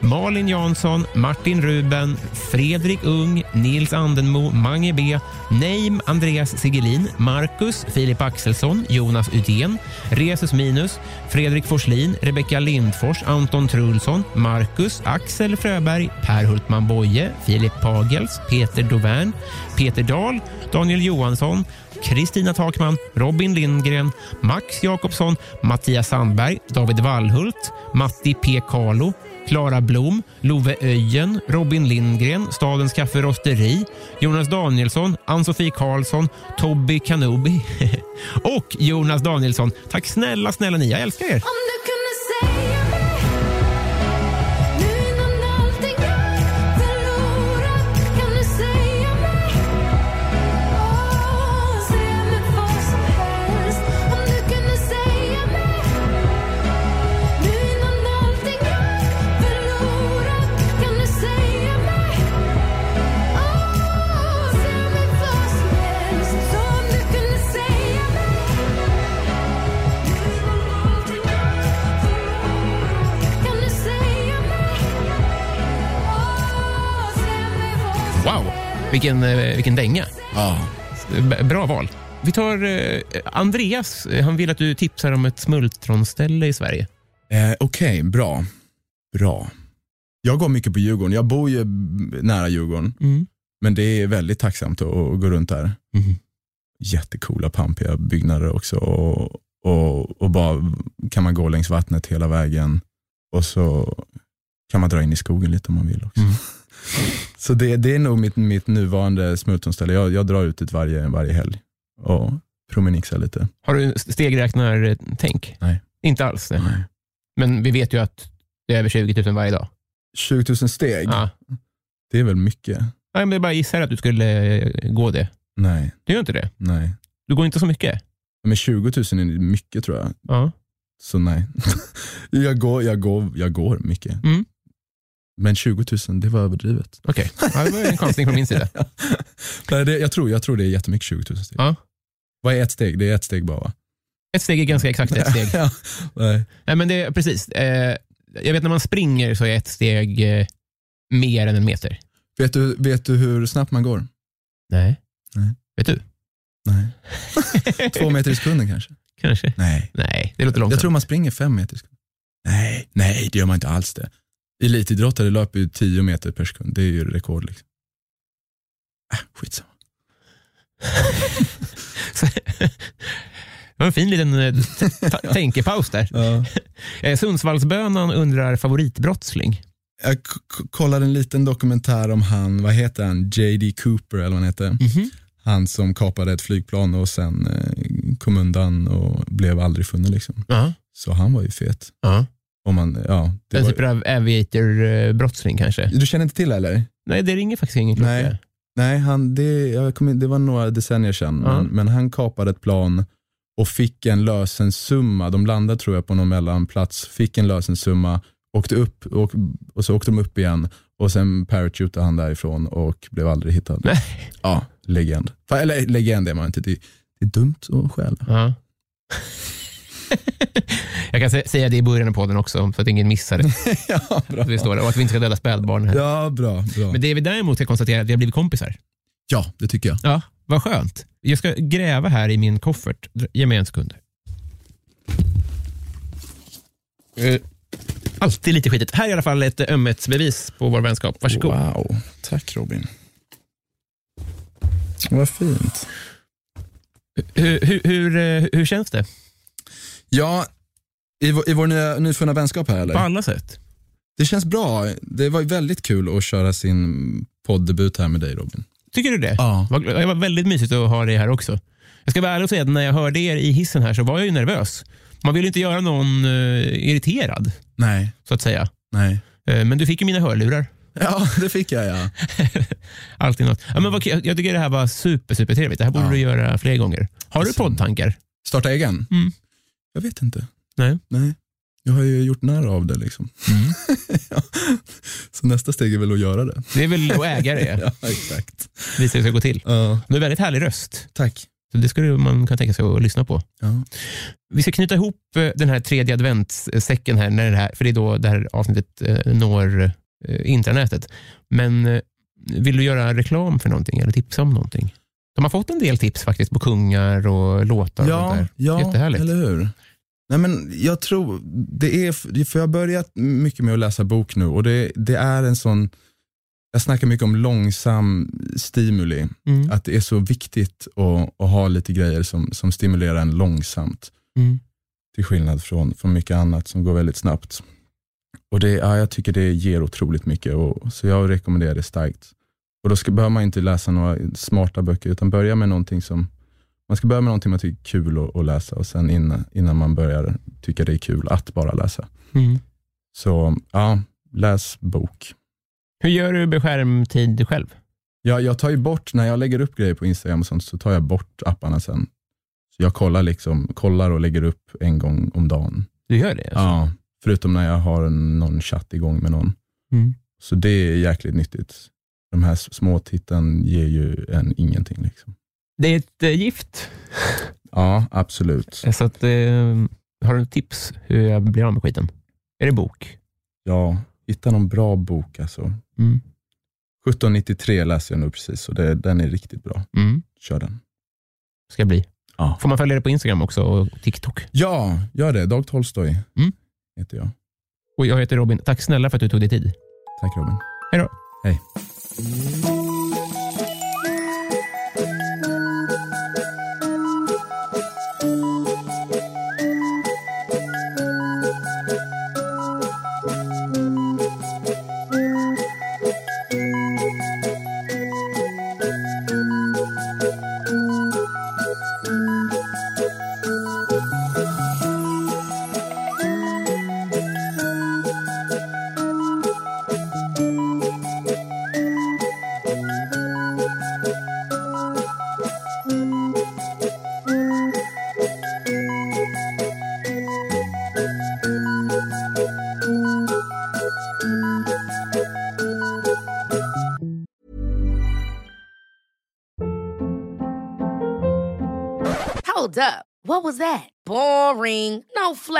Speaker 1: Malin Jansson, Martin Ruben, Fredrik Ung, Nils Andenmo, Mange B, Neim Andreas Sigelin, Marcus, Filip Axelsson, Jonas Uden, Resus Minus, Fredrik Forslin, Rebecka Lindfors, Anton Trulsson, Marcus, Axel Fröberg, Per Hultman Boye, Filip Pagels, Peter Dovern, Peter Dahl, Daniel Johansson, Kristina Takman, Robin Lindgren, Max Jakobsson, Mattias Sandberg, David Wallhult, Matti P. Carlo, Klara Blom, Love Öjen, Robin Lindgren, Stadens Kafferosteri, Jonas Danielsson, Ann-Sofie Karlsson, Tobby Kanubi [LAUGHS] och Jonas Danielsson. Tack snälla, snälla ni. Jag älskar er.
Speaker 6: Om du kunde säga mig Nu innan allting är förlorat Kan du säga mig Åh, säga mig vad som helst Om du kunde säga mig Nu innan allting är förlorat Kan du säga mig Åh, säga mig vad som helst Så om du kunde säga mig kan du säga mig? Åh, säg mig vad som
Speaker 1: Wow, vilken, eh, vilken dänga.
Speaker 2: Ja.
Speaker 1: B- Bra val. Vi tar eh, Andreas. eh, Han vill att du tipsar om ett smultronställe i Sverige.
Speaker 2: Eh, Okej, bra. Bra. Jag går mycket på Djurgården. Jag bor ju b- nära Djurgården,
Speaker 1: Mm.
Speaker 2: men det är väldigt tacksamt att, att gå runt där.
Speaker 1: Mhm.
Speaker 2: Jättecoola, pampiga byggnader också och, Och, och bara kan man gå längs vattnet hela vägen. Och så kan man dra in i skogen lite om man vill också.
Speaker 1: Mm.
Speaker 2: [LAUGHS] Så det, det är nog mitt, mitt nuvarande smultronställe. Jag, jag drar ut dit varje, varje helg och promenixar lite.
Speaker 1: Har du stegräknar-tänk?
Speaker 2: Nej.
Speaker 1: Inte alls? Nej. Men vi vet ju att det är över 20 000 varje dag.
Speaker 2: 20 000 steg,
Speaker 1: Ja.
Speaker 2: det är väl mycket?
Speaker 1: Nej, men jag bara gissar att du skulle eh, gå det.
Speaker 2: Nej,
Speaker 1: Du gör inte det.
Speaker 2: nej.
Speaker 1: Du går inte så mycket.
Speaker 2: Men 20 000 är mycket tror jag.
Speaker 1: Ja.
Speaker 2: Så nej. [LAUGHS] jag, går, jag, går, jag går mycket.
Speaker 1: Mm.
Speaker 2: Men 20 000, det var överdrivet.
Speaker 1: [LAUGHS] Okej, ja, det var en konstig från min
Speaker 2: [LAUGHS]
Speaker 1: sida.
Speaker 2: nej, det, jag, tror, jag tror det är jättemycket 20 000 steg.
Speaker 1: Ja.
Speaker 2: Vad är ett steg? Det är ett steg bara va?
Speaker 1: Ett steg är ganska exakt ett steg.
Speaker 2: [LAUGHS] ja, nej.
Speaker 1: Nej, men det, precis. Eh, jag vet när man springer så är ett steg eh, mer än en meter.
Speaker 2: Vet, du, vet du hur snabbt man går?
Speaker 1: Nej.
Speaker 2: Nej.
Speaker 1: Vet du?
Speaker 2: Nej. Två meter i sekunden kanske?
Speaker 1: Kanske.
Speaker 2: Nej.
Speaker 1: Nej, det låter
Speaker 2: Jag
Speaker 1: långsamt.
Speaker 2: tror man springer fem meter i sekunden. Nej, nej det gör man inte alls det. Elitidrottare löper ju 10 meter per sekund. Det är ju rekord. Liksom. Äh, skitsamma.
Speaker 1: [LAUGHS] Det var en fin liten eh, ta- tänkepaus där.
Speaker 2: Ja.
Speaker 1: Eh, Sundsvallsbönan undrar favoritbrottsling.
Speaker 2: Jag k- k- kollade en liten dokumentär om han, vad heter han, J.D. Cooper eller vad han heter. Han som kapade ett flygplan och sen eh, kom undan och blev aldrig funnen. Liksom.
Speaker 1: Ja.
Speaker 2: Så han var ju fet.
Speaker 1: Ja.
Speaker 2: Om man, ja, det
Speaker 1: En
Speaker 2: var,
Speaker 1: typ av aviator-brottsling kanske.
Speaker 2: du känner inte till eller?
Speaker 1: Nej, det ringer faktiskt ingen klocka.
Speaker 2: Nej. Nej, han, det, jag kommer in, det var några decennier sedan,
Speaker 1: Ja.
Speaker 2: men, men han kapade ett plan och fick en lösensumma. De landade tror jag på någon mellanplats, fick en lösensumma, åkte upp och, och så åkte de upp igen och sen parachutade han därifrån och blev aldrig hittad.
Speaker 1: Nej.
Speaker 2: Ja, legend. Fa- Eller legend är man inte, det, det är dumt att stjäla.
Speaker 1: Ja. [LAUGHS] Jag kan sä- säga det i början av podden också, så att ingen missar
Speaker 2: [LAUGHS]
Speaker 1: det.
Speaker 2: [LAUGHS] ja, bra.
Speaker 1: Det står där. Och att vi inte ska döda spädbarn. Här.
Speaker 2: Ja, bra. bra.
Speaker 1: Men det vi däremot ska konstatera är att vi har blivit kompisar.
Speaker 2: Ja, det tycker jag.
Speaker 1: Ja, vad skönt. Jag ska gräva här i min koffert. Dra- Ge mig en sekund. Eh, alltid lite skitigt. Här är i alla fall ett ömhetsbevis på vår vänskap. Varsågod.
Speaker 2: Wow, tack Robin. Vad fint.
Speaker 1: Hur, hur, hur, eh, hur känns det?
Speaker 2: Ja, i vår, i vår nya, nyfunna vänskap här eller?
Speaker 1: På alla sätt?
Speaker 2: Det känns bra. Det var väldigt kul att köra sin poddebut här med dig Robin.
Speaker 1: Tycker du det?
Speaker 2: Ja.
Speaker 1: Vad- Det var väldigt mysigt att ha dig här också. Jag ska vara ärlig och säga att när jag hörde er i hissen här så var jag ju nervös. Man vill ju inte göra någon eh, irriterad,
Speaker 2: Nej,
Speaker 1: så att säga.
Speaker 2: nej.
Speaker 1: Eh, men du fick ju mina hörlurar. [LAUGHS]
Speaker 2: Ja, det fick jag ja.
Speaker 1: Alltid något. Ja, men vad, kul. jag tycker det här var super, super trevligt. Det här borde
Speaker 2: Ja.
Speaker 1: du göra fler gånger. Har du
Speaker 2: Detsamma.
Speaker 1: poddtankar?
Speaker 2: Starta egen?
Speaker 1: Mm.
Speaker 2: Jag vet inte.
Speaker 1: Nej.
Speaker 2: Nej. Jag har ju gjort nära av det liksom. [LAUGHS] ja. Så nästa steg är väl att göra det.
Speaker 1: Det är väl att äga det,
Speaker 2: [LAUGHS] Ja, exakt.
Speaker 1: visa hur det ska gå till.
Speaker 2: Ja.
Speaker 1: Du har väldigt härlig röst.
Speaker 2: Tack.
Speaker 1: Så det skulle man kunna tänka sig att lyssna på.
Speaker 2: Ja.
Speaker 1: Vi ska knyta ihop eh, den här tredje adventssäcken här, när det här för det är då det här avsnittet eh, når eh, intranätet. Men eh, vill du göra reklam för någonting eller tipsa om någonting? De har fått en del tips faktiskt på kungar och låtar. och sånt
Speaker 2: Ja,
Speaker 1: där.
Speaker 2: ja
Speaker 1: Jättehärligt.
Speaker 2: eller hur? Nej, men jag tror, det är, för jag har börjat mycket med att läsa bok nu och det, det är en sån, jag snackar mycket om långsam stimuli,
Speaker 1: Mm.
Speaker 2: att det är så viktigt att, att ha lite grejer som, som stimulerar en långsamt,
Speaker 1: Mm.
Speaker 2: till skillnad från, från mycket annat som går väldigt snabbt. Och det, ja, Jag tycker det ger otroligt mycket, och, så jag rekommenderar det starkt. Och Då ska, behöver man inte läsa några smarta böcker, utan börja med någonting som man ska börja med någonting man tycker är kul att, att läsa och sen innan, innan man börjar tycka det är kul att bara läsa.
Speaker 1: Mm.
Speaker 2: Så ja, läs bok.
Speaker 1: Hur gör du med skärmtid själv?
Speaker 2: Jag, jag tar ju bort, när jag lägger upp grejer på Instagram och sånt, så tar jag bort apparna sen. Så jag kollar, liksom, kollar och lägger upp en gång om dagen.
Speaker 1: Du gör det? alltså?
Speaker 2: Ja, förutom när jag har en- någon chatt igång med någon.
Speaker 1: Mm.
Speaker 2: Så det är jäkligt nyttigt. De här s- små titten ger ju en ingenting. Liksom.
Speaker 1: Det är ett eh, gift.
Speaker 2: Ja, absolut.
Speaker 1: Så att, eh, har du tips hur jag blir av med skiten? Är det bok?
Speaker 2: Ja, hitta någon bra bok alltså.
Speaker 1: Mm.
Speaker 2: 1793 läser jag nu precis och det, den är riktigt bra.
Speaker 1: Mm.
Speaker 2: Kör den.
Speaker 1: Ska bli.
Speaker 2: Ja.
Speaker 1: Får man följa dig på Instagram också och TikTok?
Speaker 2: Ja, gör det. Dag Tolstoj
Speaker 1: Mm.
Speaker 2: heter jag.
Speaker 1: Och jag heter Robin. Tack snälla för att du tog dig tid.
Speaker 2: Tack Robin.
Speaker 1: Hej då.
Speaker 2: Hej.
Speaker 7: Thank
Speaker 3: Hold up. What was that? Boring. No